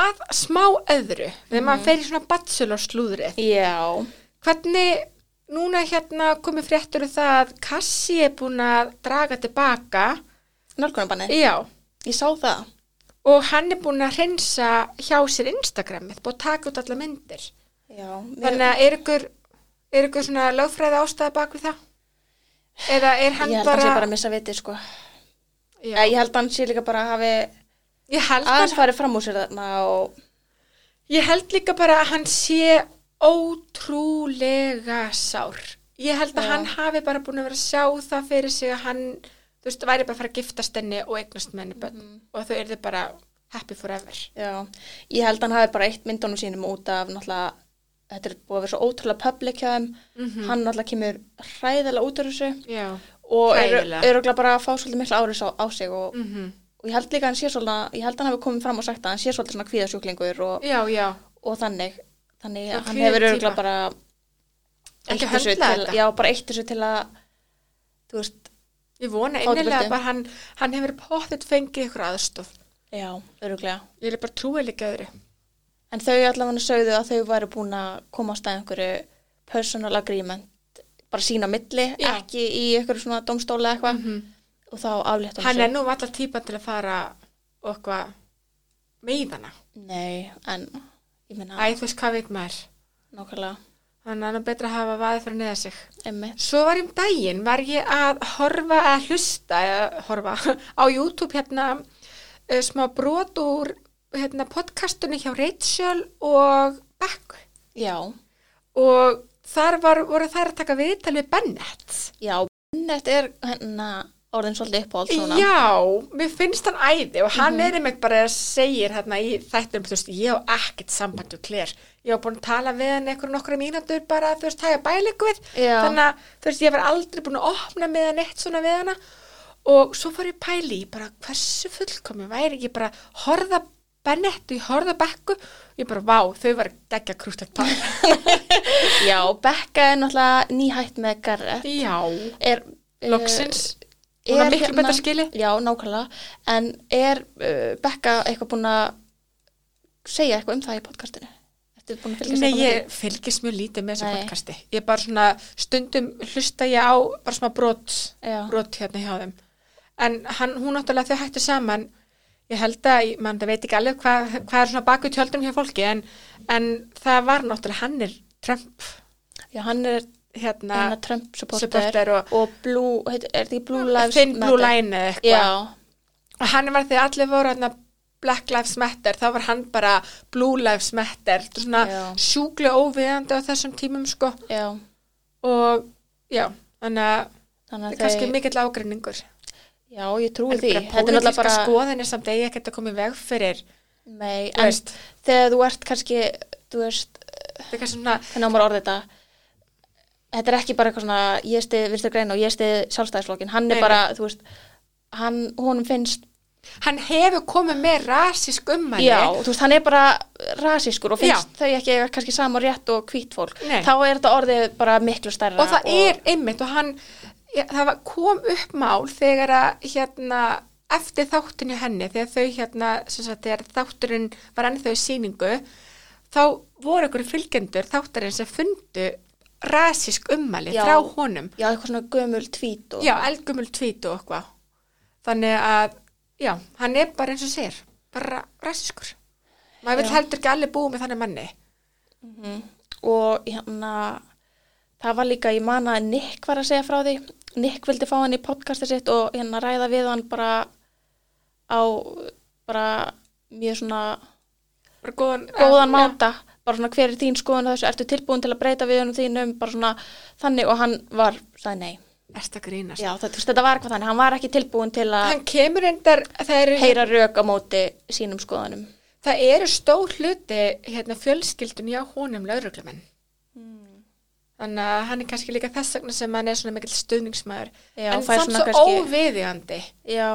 að smá öðru, þegar
Mhm.
maður fer í svona bachelor slúðrið,
Já,
hvernig núna hérna komið fréttur um það að Kassi er búin að draga tilbaka,
nálgunabanni.
já
Ég sá það.
og hann er búin að hreinsa hjá sér Instagramið, búin að taka út alla myndir
Já,
þannig að er ykkur er ykkur svona lögfræði ástæði bak við það eða er hann
ég held að hann
bara,
sé bara að missa vitið, sko.
Já.
Ég held að hann sé líka bara að hafi
ég held að
aðeins farið fram úr sér þarna og...
Ég held líka bara að hann sé ótrúlega sár. Ég held að hann hafi bara búin að vera að sjá það fyrir sig að hann, þú veist, væri bara að fara að giftast henni og eignast með henni bönn og þau eru bara happy forever.
Já, ég held að hann hafi bara eitt myndunum sínum út af náttúrulega, þetta er búið að vera svo ótrúlega public hjá þeim, hann náttúrulega kemur hræðilega út af þessu
Já,
og eru
Hræðilega. Mhm.
öruglega bara að fá svolítið mikla áris á, á sig og, og ég held líka að hann sé svolítið, ég held að hann hafi komið fram og sagt að hann sé svolítið svona kvíðasjúklingur og,
já, já.
og þannig, þannig
Já,
að hann
kvíðin
hefur
týpa.
öruglega bara
Ekki
eitt þessu
höndla
til,
þetta.
já, bara eitt þessu til að, þú veist,
Ég vona
Fá þetta
innilega
burtu.
bara hann, hann hefur pottet fengið ykkur aðstof.
já, öruglega.
Ég er bara trúið líka öðru.
En þau allavega sögðu að þau væru búin að komast að einhverju personal agreement bara sína á milli,
Já. Mhm.
ekki í einhverju svona domstóla eða eitthvað og þá aflétt
Hann er nú alltaf típa til að fara og eitthvað meðana.
Nei, en ég minna
Æ, þú veist hvað veit maður.
nákvæmlega
Þannig að hann er betra að hafa vaðið fyrir neða sig.
einmitt.
Svo var ég um daginn, var ég að horfa að hlusta, eða horfa á YouTube hérna eh, smá brot úr hérna, podcastunni hjá Rachel og Beck
Já,
og þar var, voru þær að taka viðtal við Bennett.
já, Bennett er hérna orðin svolítið uppáhald svona Mhm.
Já, mér finnst hann æði og hann er einmitt bara að segja hérna í þættum, þú veist, ég á ekkert samband og klér, ég á búin að tala við hann einhver nokkra mínútur bara, þú veist, hægja bæleikvið,
Já.
þannig að þú veist, ég var aldrei búin að opna með hann eitt svona við hana og svo fór ég að pæla í bara hversu fullkomi væri ekki bara horða Bennett og ég horða Bekku ég bara, vá, þau var degja krústlegt par.
Já, Becca er náttúrulega nýhætt með Garrett
Já,
er, eh,
loksins. Hún var miklu betra skili.
Já, nákvæmlega En er uh, Becca eitthvað búin að segja eitthvað um það í podcastinu? Ertu búin að fylgjast eitthvað
Nei,
með
ég fylgist mjög lítið með þessu
Nei.
podcasti. Ég bara svona stundum hlusta ég á bara svona brot,
Já.
brot hérna hjá þeim. En hann, hún náttúrulega þau hættu saman. Ég held að, mann það veit ekki alveg hvað hva er svona baku tjöldum hjá fólki en, en það var náttúrulega hann er Trump
því? Já, hann er
hérna,
hann er Trump supporter,
supporter og-
Blue, heit, er því Blue Lives
Thin Blue
Matter?
Line eða eitthvað.
Já,
og hann var þegar allir voru hérna Black Lives Matter, þá var hann bara Blue Lives Matter, Þetta er svona
Já.
sjúklega óviðandi á þessum tímum sko
já
og já, þannig að
Þannig að
það er kannski
þau-
mikill ágreiningur
Já, ég trúi
en
því Þetta
bara
er náttúrulega
pólitíska
bara
skoðanir samt eigi ekkert að koma í veg fyrir
Nei,
Þú
en
veist.
þegar þú ert kannski þú veist,
það er kannski svona
hvernig á maður orðið þetta Þetta er ekki bara eitthvað svona ég stið vinstur grein og ég stið sjálfstæðisflokkin Hann
Nei,
er bara, þú veist hann, honum finnst
hann hefur komið með rasísk ummæli
Já, þú veist, hann er bara rasískur og finnst
Já.
þau ekki eiga kannski sama rétt og hvít fólk.
Nei.
Þá er þetta orðið bara miklu stærra.
og það er einmitt og hann ja, það var- kom upp mál þegar að hérna eftir þáttinu henni þegar þau hérna sem sagt þegar þátturinn var ennþá í sýningu þá voru ykkur fylgjendur þátturinn sem fundu rasísk ummæli
Já.
frá honum
Já, eitthvað svona gömul tvít og...
Já, eldgumul tvít og eitthvað. Þannig að, já, hann er bara eins og sér, bara rasiskur. Maður vil heldur ekki allir búið með þannig manni.
og hérna það var líka, ég man að Nick var að segja frá því Nick vildi fá hann í podcasti sitt og hérna ræða við hann bara á bara mjög svona
Bara góðan,
góðan máta bara svona hver er þín skoðun á þessu, ertu tilbúin til að breyta við hann þínum, bara svona þannig og hann var, sagði nei
Erst að grínast.
já, það, þú veist, þetta var eitthvað þannig, hann var ekki tilbúin til að
Hann kemur endar, það eru,
heyra rauk á móti sínum skoðunum
það eru stór hluti hérna fjölskyldun hjá honum lauruglumenn.
Hmm.
Þannig að hann er kannski líka þess vegna sem hann er svona mikill stuðningsmaður.
Já,
en
fær
samt svo
svona
kannski...
kannski-
óviðjandi
já,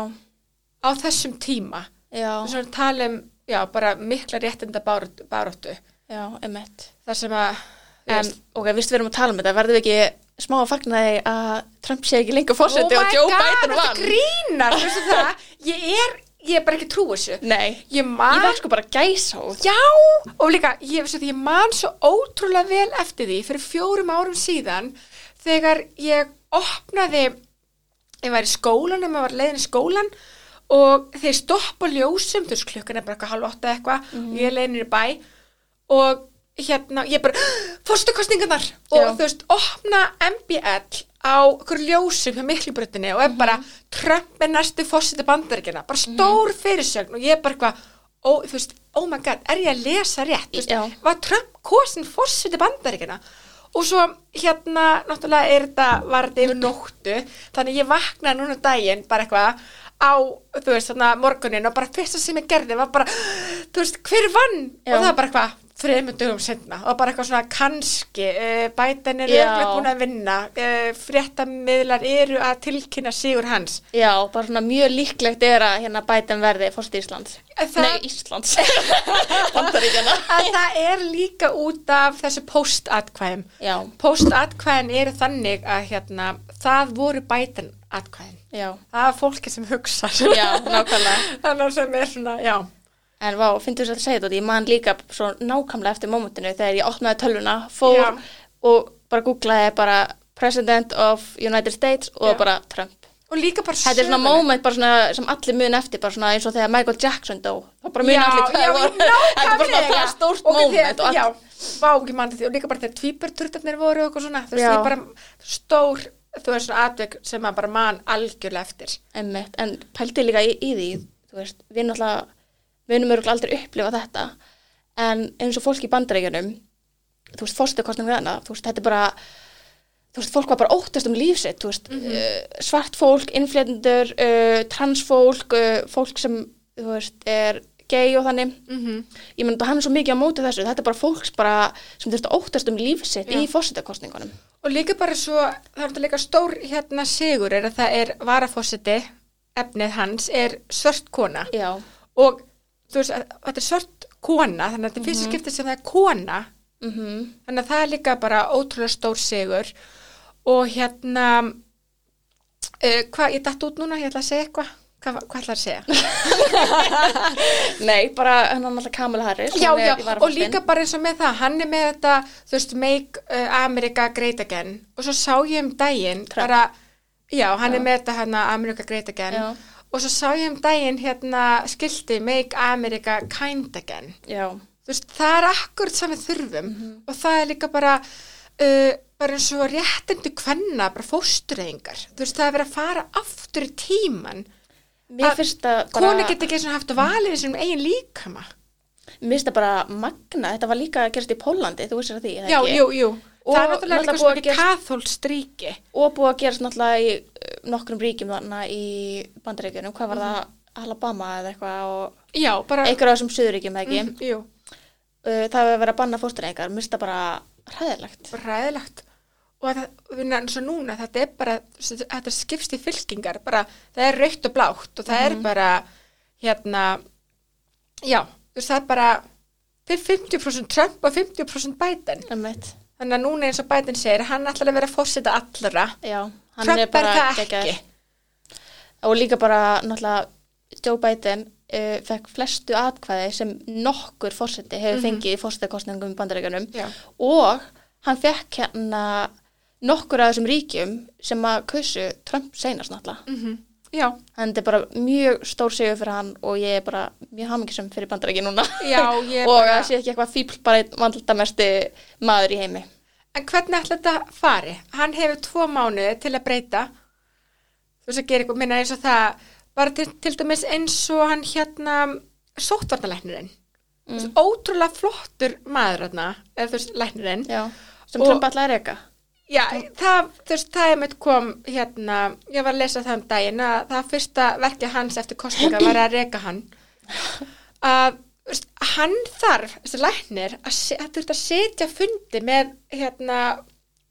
á þessum tíma.
já,
Þess að tala um, já, bara mikla réttinda baróttu.
já, emmett
Þar sem að, þú
En,
veist,
ok, vist við erum að tala um þetta, verðum við ekki smá að fagna því að Trump sé ekki lengur fórseti og
Oh my
Joe
God,
Biden
þetta
vann?
grínar, veistu það? Ég er, ég er bara ekki trú þessu.
Nei,
Ég man,
ég var sko bara gæsa út.
já, og líka, ég, veistu það, ég man svo ótrúlega vel eftir því fyrir fjórum árum síðan þegar ég opnaði, ég var í skólanum, ég var leiðin í skólan og þeir stoppa á ljósum, þú veist, klukkan er bara eitthvað halv átta eða eitthvað
Mhm.
og ég er leiðin í bæ og hérna, ég bara, fórstu kostningarnar
Já.
og þú veist, opna MBL á okkur ljósum hjá
Mhm.
miklubrötinni og er bara Trump er næstu fórseti bandaríkina bara stór fyrirsögn og ég er bara eitthvað ó, þú veist, oh my god, er ég að lesa rétt? Þú
Já.
veist, var Trump kosin fórsviti bandaríkina? Og svo hérna, náttúrulega er þetta, var þetta yfir nóttu, þannig ég vaknaði núna um daginn bara eitthvað á, þú veist, þarna morgunin og bara fyrsta sem ég gerði var bara, þú veist, hver vann?
Já.
Og það var bara eitthvað þreymur dögum setna og bara eitthvað svona kannski, uh, bætan er
Já.
örugglega búin að vinna, uh, fréttamiðlar eru að tilkynna sigur hans.
Já, bara svona mjög líklegt er að hérna bætum verði fórst Íslands.
Það-
Nei, Íslands. Bandaríkjana.
að það er líka út af þessu postatkvæðum
Já.
postatkvæðin eru þannig að hérna, það voru bætan atkvæðin
Já.
það er fólki sem hugsa
Já, nákvæmlega.
þannig sem er svona, já
En vá, finnst þú þess að segja þetta, út? ég man líka svo nákvæmlega eftir mómentinu þegar ég opnaði tölvuna, fór
Já.
og bara googlaði bara President of United States og
Já.
bara Trump.
og líka bara
Þetta er svona
sögulegt.
moment bara svona, sem allir mun eftir, bara svona eins og þegar Michael Jackson dó. Það bara mun
Já,
allir hvað
já,
það var. Þetta er
nákvæmlega.
bara svona það stórt
Og við-
moment og
Já,
allir.
vá, ekki mann þetta og líka bara þegar tvíburturtarnir voru og eitthvað svona þú veist,
Já.
það er bara stór þú veist svona atvik sem maður bara man algjörlega eftir
Einmitt, en pældi líka í, í því, þú veist, við náttúrulega, við munum örgulega aldrei upplifa þetta, en eins og fólk í bandarækjunum, þú veist, fórstöðkostnum við hana, þú veist, þetta er bara, þú veist, fólk var bara óttast um lífsitt, þú veist,
Mhm.
uh, svart fólk, innflétundur, uh, transfólk, uh, fólk sem, þú veist, er gay og þannig,
Mhm.
-hmm. ég meni, hann er svo mikið á móti þessu, þetta er bara fólks bara, sem þú veist, óttast um lífsitt í fórstöðkostningunum.
Og líka bara svo, það er þetta líka stór hérna sigur er að það er varafósiti, efnið hans, er svört kona.
Já,
Og þú veist, að- þetta er svört kona, þannig að þetta er fyrst skipti sem það er kona. -hmm. Þannig að það er líka bara ótrúlega stór sigur. Og hérna, uh, hvað, ég datt út núna, ég ætla að segja eitthvað. Hvað, hvað ætlaði að segja?
nei, bara hann er alltaf Kamala Harris
já,
hún er
já,
í varaforsetin.
og líka bara eins og með það, hann er með þetta, þú veist, make uh, America great again. Og svo sá ég um daginn,
Trump.
bara, já, hann er með þetta hérna America great again.
Já.
Og svo sá ég um daginn hérna skilti make America kind again.
Já,
Þú veist, það er akkurat sem við þurfum.
Mhm.
Og það er líka bara, uh, bara eins og réttindi kvenna, bara fóstureyðingar. Þú veist, það er verið að fara aftur í tíman.
Mér
Að
finnst það bara,
Kona geta ekki einu sinni haft valið í sínum eigin líkama.
mér finnst það bara magna, þetta var líka að gerast í Pólandi, þú vissir að því, er það
Já,
ekki?
jú, jú.
Og
það er náttúrulega
náttúrulega
líka svo
búið að
ekki kathólst ríki.
Og búið að gerast náttúrulega í eh, nokkrum ríkjum þarna í bandaríkjunum, hvað
Mhm.
var það, Alabama eða eitthvað og
Já, bara...
einhverja af þessum söðuríkjum eða ekki, mm.
Jú,
það hefur verið að banna fóstureyðingar, mér finnst það bara hræðilegt.
bara ræðilegt. Og það, við eins og núna, þetta er bara, þetta er skipst í fylkingar, bara, það er raukt og blátt og það er bara, hérna, já, þú veist, það er bara fi- 50% Trump og 50% Biden.
Einmitt.
Þannig að núna eins og Biden segir, hann ætlar að vera fórseta allra.
Já, hann
Trump
er bara
það
geggjaður.
ekki.
og líka bara náttúrulega Joe Biden uh, fekk flestu atkvæði sem nokkur fórseti hefur fengið í fórsetakostningum í bandaríkjunum
Mhm. Já.
og hann fekk hérna nokkur af þessum ríkjum sem að kausu Trump seinast náttúrulega
Mhm.
mm.
Já,
en þetta er bara mjög stór sigur fyrir hann og ég er bara mjög hamingisum fyrir bandaríkjun núna
Já, ég er
og
bara-
það sé ekki eitthvað fíbl bara einn vandaldamesti maður í heimi
En hvernig ætla þetta fari? Hann hefur tvo mánuði til að breyta. Þú veist að gera eitthvað minna eins og það, bara til, til dæmis eins og hann hérna sóttvartalæknirinn. Mm. Ótrúlega flottur maður hérna, eða þú veist, læknirinn.
Já. sem
Og-
Trump allar reyka
Já, það, þú veist, það er mitt kom hérna, ég var að lesa það um daginn að það fyrsta verkið hans eftir kostninga var að reka hann að þú veist, hann þarf, þessi læknir að, se- að þú veist að setja fundi með hérna,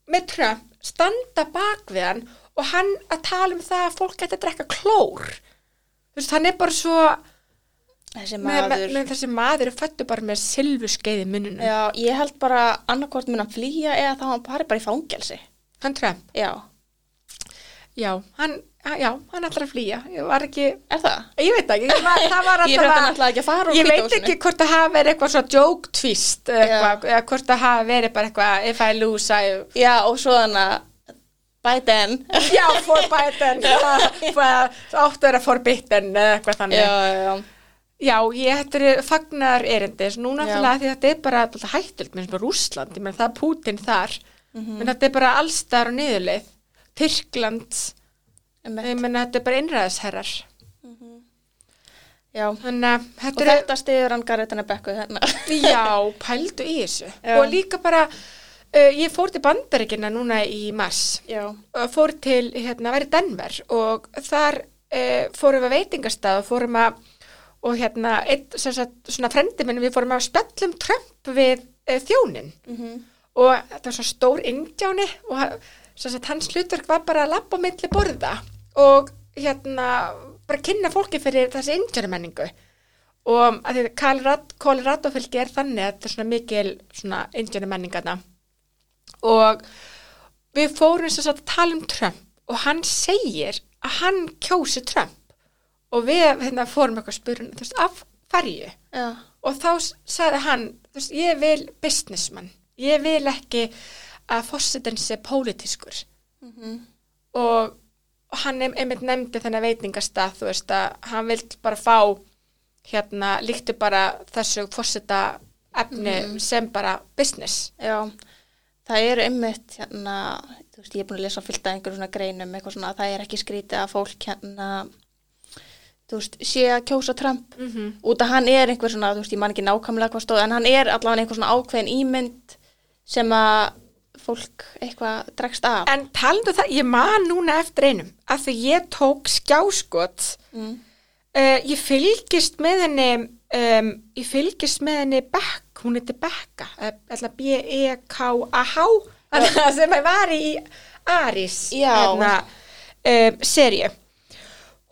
með Trump standa bak við hann og hann að tala um það að fólk geti að drekka klór þú veist, hann er bara svo
þessi
með,
maður
með, með þessi maður er fættu bara með silfuskeiði mununum,
Já, ég held bara annarkvort mun að flýja eða þá hann pari bara í fangelsi.
hann Trump
Já,
já, hann, já, hann ætlar að flýja ég var ekki
er það?
Ég veit ekki, ég var, það var
Ég frétti hann ætlaði ekki að fara úr
Ég veit
hvíta húsinu.
ekki hvort það hafi verið eitthvað svo joke twist eitthvað, eða hvort það hafi verið bara eitthvað if I lose I
Já, og svo þannig að Biden.
já, forbidden áttu að vera forbidden eða eitthvað
Já,
þannig
já, já.
Já, ég þetta eru fagnar erindi núna
Já.
fyrir að því þetta er bara alltaf hættult, minnst bara Rússland, ég menn það er Putin þar
Mhm.
menn þetta er bara allstar og niðurleið Tyrkland
Einmitt.
ég menn þetta er bara innræðisherrar
Já, Já.
Þannig að
Og
þetta er
þetta stiður hann garðetana bekku hérna. þennan.
Já, pældu í þessu.
Já.
Og líka bara, uh, ég fór til Bandaríkina núna í mars.
Já.
Og Fór til, hérna, verið Denver og þar uh, fórum við að veitingastað og fórum að, og hérna, einn, sem sagt, svona frendi minn, við fórum að spöllum Trump við uh, þjónin. -hmm. Og þetta var svo stór indjáni og hann- sem sagt, hans hlutverk var bara að labba á milli borða og hérna, bara kynna fólki fyrir þessi indjáni menningu og að því Colorado, Colorado fylgi er þannig að þetta er svona mikil svona indjönu menningana og við fórum sem sagt að tala um Trump og hann segir að hann kjósi Trump og við hérna, fórum eitthvað spyrun þú veist, af hverju
Já.
og þá s- sagði hann þú veist, ég vil businessman ég vil ekki að fórsetin sé pólitískur og, og hann em- einmitt nefndi þennan veitingastað þú veist að hann vilt bara fá hérna líktu bara þessu fórseta efni sem bara business
Já. Það eru einmitt hérna, þú veist, ég er búin að lesa fylgta einhverjum svona greinum, eitthvað svona, það er ekki skrítið að fólk hérna, þú veist, sé að kjósa Trump. -hmm. Út að hann er einhver svona, þú veist, ég man ekki nákvæmlega hvað stóð, en hann er allavega einhver svona ákveðin ímynd sem að fólk eitthvað dregst af.
en talandu það, ég man núna eftir einum að því ég tók skjáskot mm. ég fylgist með henni um, ég fylgist með henni Beck, hún heiti Becka eh, ætla B-E-K-A-H þarna sem ég var í Aris
Já.
um, seríu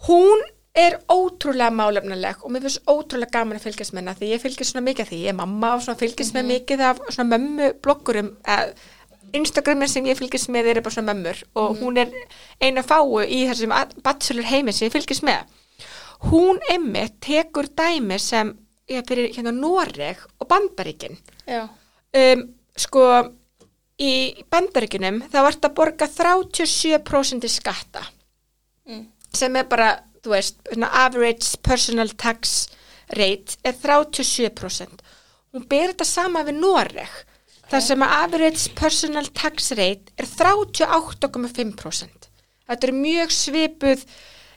hún er ótrúlega málefnileg og mér finnst ótrúlega gaman að fylgjast með hennar því ég fylgjast svona mikið af því, ég er mamma og svona fylgjast með mikið af svona mömmu bloggurum að Instagramin sem ég fylgjast með er bara svona mömmur og hún er eina fáu í þessum a- bachelor heimi sem ég fylgjast með hún emmi tekur dæmi sem ég fyrir hérna Noreg og Bandaríkin
Já.
um, sko í bandaríkunum þá vart að borga 37% í skatta sem er bara, þú veist svona average personal tax rate er 37% hún ber þetta sama við Noreg þar sem að average personal tax rate er 38,5% þetta er mjög svipuð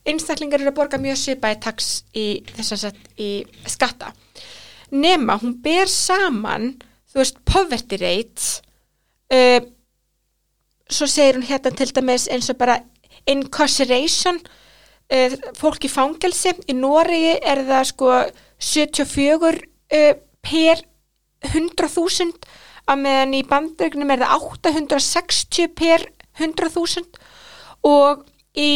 einstaklingar eru að borga mjög svipaði tax í, þess að sagt, í skatta nema hún ber saman þú veist poverty rate uh, svo segir hún hérna til dæmis eins og bara incarceration uh, fólk í fangelsi í Noregi er það sko 74 uh, per 100.000 að meðan í bandregnum er það 860 per 100.000 og í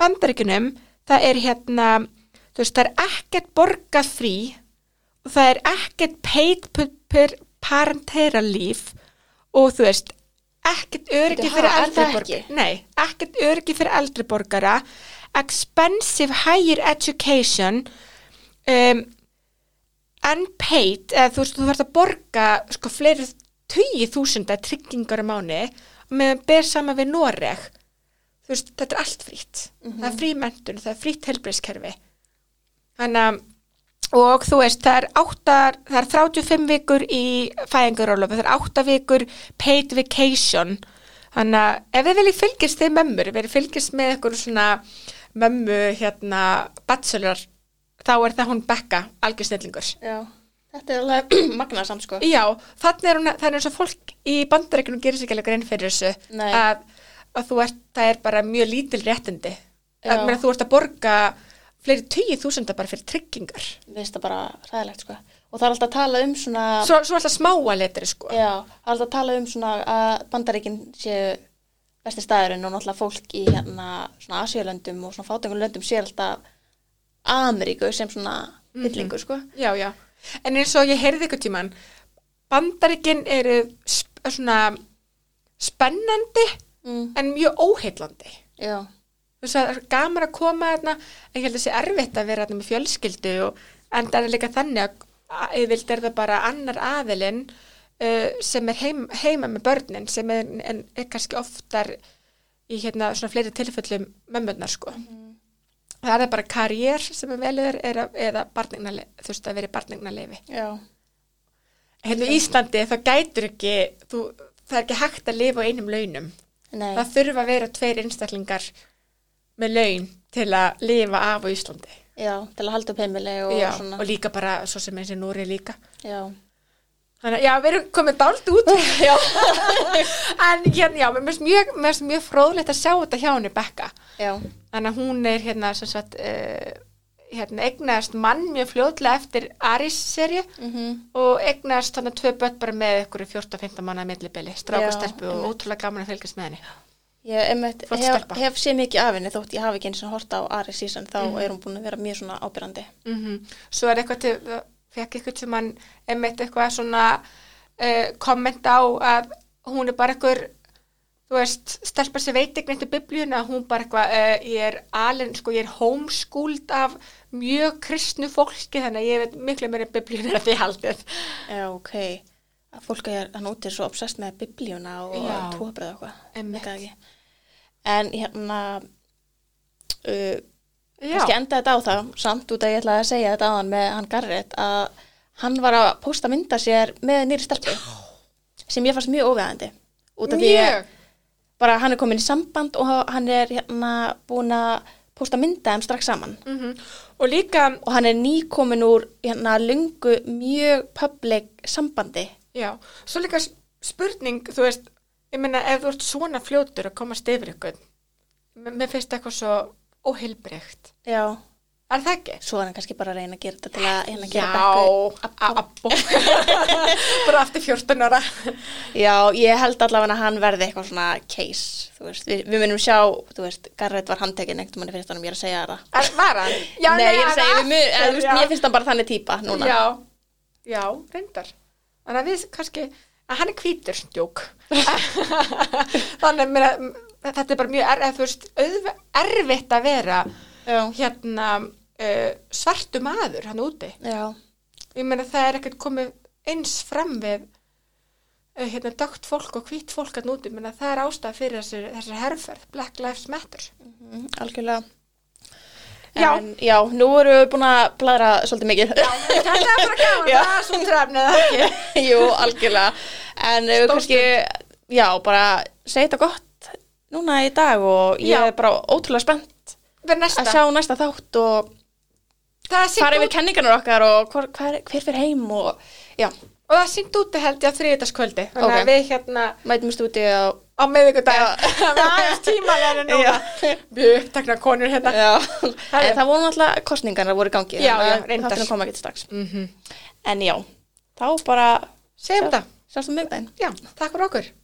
bandaríkunum það er hérna þú veist það er ekkert borgað frí og það er ekkert paid per, per parentera líf og þú veist ekkert öryggi
Bíddu,
fyrir
ha, er
eldri
það
borgara
ekki?
nei, ekkert öryggi fyrir eldri borgara expensive higher education um, unpaid eða þú veist, þú verður að borga sko fleiri tugi þúsunda tryggingar á mánu meðan ber sama við Noreg þú veist, þetta er allt frýtt það er frí mentun, það er frýtt helbriðskerfi þannig að og þú veist, það er, áttar, það er 35 vikur í fæðingarólofu, það er 8 vikur paid vacation þannig að ef þið viljið fylgjast þið mömmur verið fylgjast með eitthvað svona mömmu, hérna, bachelor þá er það hún Becca, algjör snillingur
Já. Þetta er alveg magnaðsamt sko.
Já, þannig er, hún, þannig er eins og fólk í bandarækjunum gerir sér ekki alveg grein fyrir þessu
Nei.
að, að þú ert, það er bara mjög lítil réttindi
Já.
að meina, þú ert að borga fleiri tugi þúsunda bara fyrir tryggingar
Mér finnst það bara ræðilegt sko. Og það er alltaf að tala um svona...
svo, svo alltaf smáa letri sko
Já, það er alltaf að tala um svona að bandaríkin séu besti staðurinn og náttúrulega fólk í hérna svona Asíulöndum og svona fátengum löndum séu alltaf Ameríku sem svona
Mhm.
byllingu, sko.
já, já. En eins og ég heyrði ykkur tíman, bandaríkin eru sp svona spennandi
Mm.
en mjög óheillandi.
Já,
Þú veist það er gaman að koma þarna, en ég held að sé erfitt að vera þarna með fjölskyldu og en það er líka þannig að- að yfirvild er það bara annar aðilinn uh, sem er heim, heima með börnin sem er, en, er kannski oftar í hérna svona fleiri tilfellum mömmunar sko. Það er það bara karriér sem er velur eða, eða barnignale- þú veist að vera í barnignarleifi
já,
hérna í Íslandi þá gætur ekki þú, það er ekki hægt að lifa á einum launum
nei,
það þurfa að vera tveir einstaklingar með laun til að lifa af á Íslandi
já, til að halda upp heimili og
já,
svona.
og líka bara svo sem eins og Núri líka
já.
Þannig að já, við erum komið dált út já. en hérna, já, mér finnst mjög, mér finnst mjög fróðlegt að sjá þetta hjá henni Bekka
já,
þannig að hún er hérna sem sagt uh, hérna egnaðast mann mjög fljótlega eftir Aris serju
Mhm.
og egnaðast þannig að tvö börn bara með ykkur 14-15 manna millibili, strák og
Já,
stelpu og
einmitt.
ótrúlega gaman að fylgjast með henni
ég einmitt,
Flott
hef,
stelpa.
hef séð mikið af henni þótt ég hafi ekki eins og horta á Ari sísan þá
Mhm.
er hún búin að vera mjög svona ábyrrandi
mm svo er eitthvað til fekk eitthvað til mann einmitt eitthvað svona uh, komment á að hún er bara eitthvað þú veist, stelpa sem veit ekki neitt um biblíuna, hún bara eitthvað uh, ég er alin, sko, ég er homeschooled af mjög kristnu fólki þannig að ég veit miklu meira um biblíuna en þið haldið
já, ok að fólk er hann úti er svo obsessed með biblíuna og
Já.
tóabröð og eitthvað
Einmitt.
Veit það ekki. en hérna uh,
Já,
kannski enda þetta á það samt út að ég ætlaði að segja þetta á hann með hann Garrett að hann var að posta mynda sér með nýri stelpu sem ég fannst mjög óvegandi út af því
mjög
bara hann er komin í samband og hann er hérna búin að posta mynda þeim strax saman
mm og líka,
og hann er nýkomin úr hérna lungu mjög public sambandi
já, svo líka s- spurning, þú veist ég meina ef þú ert svona fljótur að komast yfir ykkur mér finnst eitthvað svo óheilbreykt
já,
Er það ekki?
svo er hann kannski bara að reyna að gera þetta til að hérna
Já,
gera bekku
abbo. Bara aftur 14 ára.
Já, ég held allavega að hann verði eitthvað svona case, þú veist, við, við munum sjá, þú veist, Garrett var handtekinn einhvern manni fyrir þannig, ég er að segja það.
Er, var hann? Já,
nei, ég er að segja, við munum, eða, þú veist,
já.
mér finnst hann bara þannig típa núna.
Já, já, reyndar. Þannig að við kannski, að hann er hvítur, djók. Þannig að mér að þetta er bara mjög er, eða þú veist, auðve, erfitt að vera
Já.
hérna uh, svartu maður hann úti.
Já,
Ég meina það er ekkert komið eins fram við uh, hérna dögt fólk og hvít fólk hann úti. Ég meina það er ástæða fyrir þessir, þessir herferð, Black Lives Matter.
mm, algjörlega.
Já.
En, já, nú erum við búin að bladra svolítið mikið.
Þetta er bara gaman,
Já.
það er svona trefnið, það ekki.
Jú, algjörlega. En við kannski, já, bara segja þetta gott núna í dag og ég
Já.
er bara ótrúlega spennt
Verð næsta.
að sjá næsta þátt og
það
fara
er sýnt
yfir
út,
kenningarnar okkar og hver, hver, hver fyrir heim og já,
og það er sýnt úti held ég á þriðdagskvöldi. Þannig
Ok.
að við hérna
mætumst úti á
á miðvikudag, það er aðeins tímalegri núna. Við upptakna konur hérna.
Já,
Það er-
en það voru náttúrulega kostningarnar voru í gangi
Já,
þannig
já,
að
reyndar.
þátturinn kom ekki til strax
Mm -hmm.
En já, þá bara sjá- um
Segjum þetta.
Sjástu miðbæn
Já, takk fyrir okkur.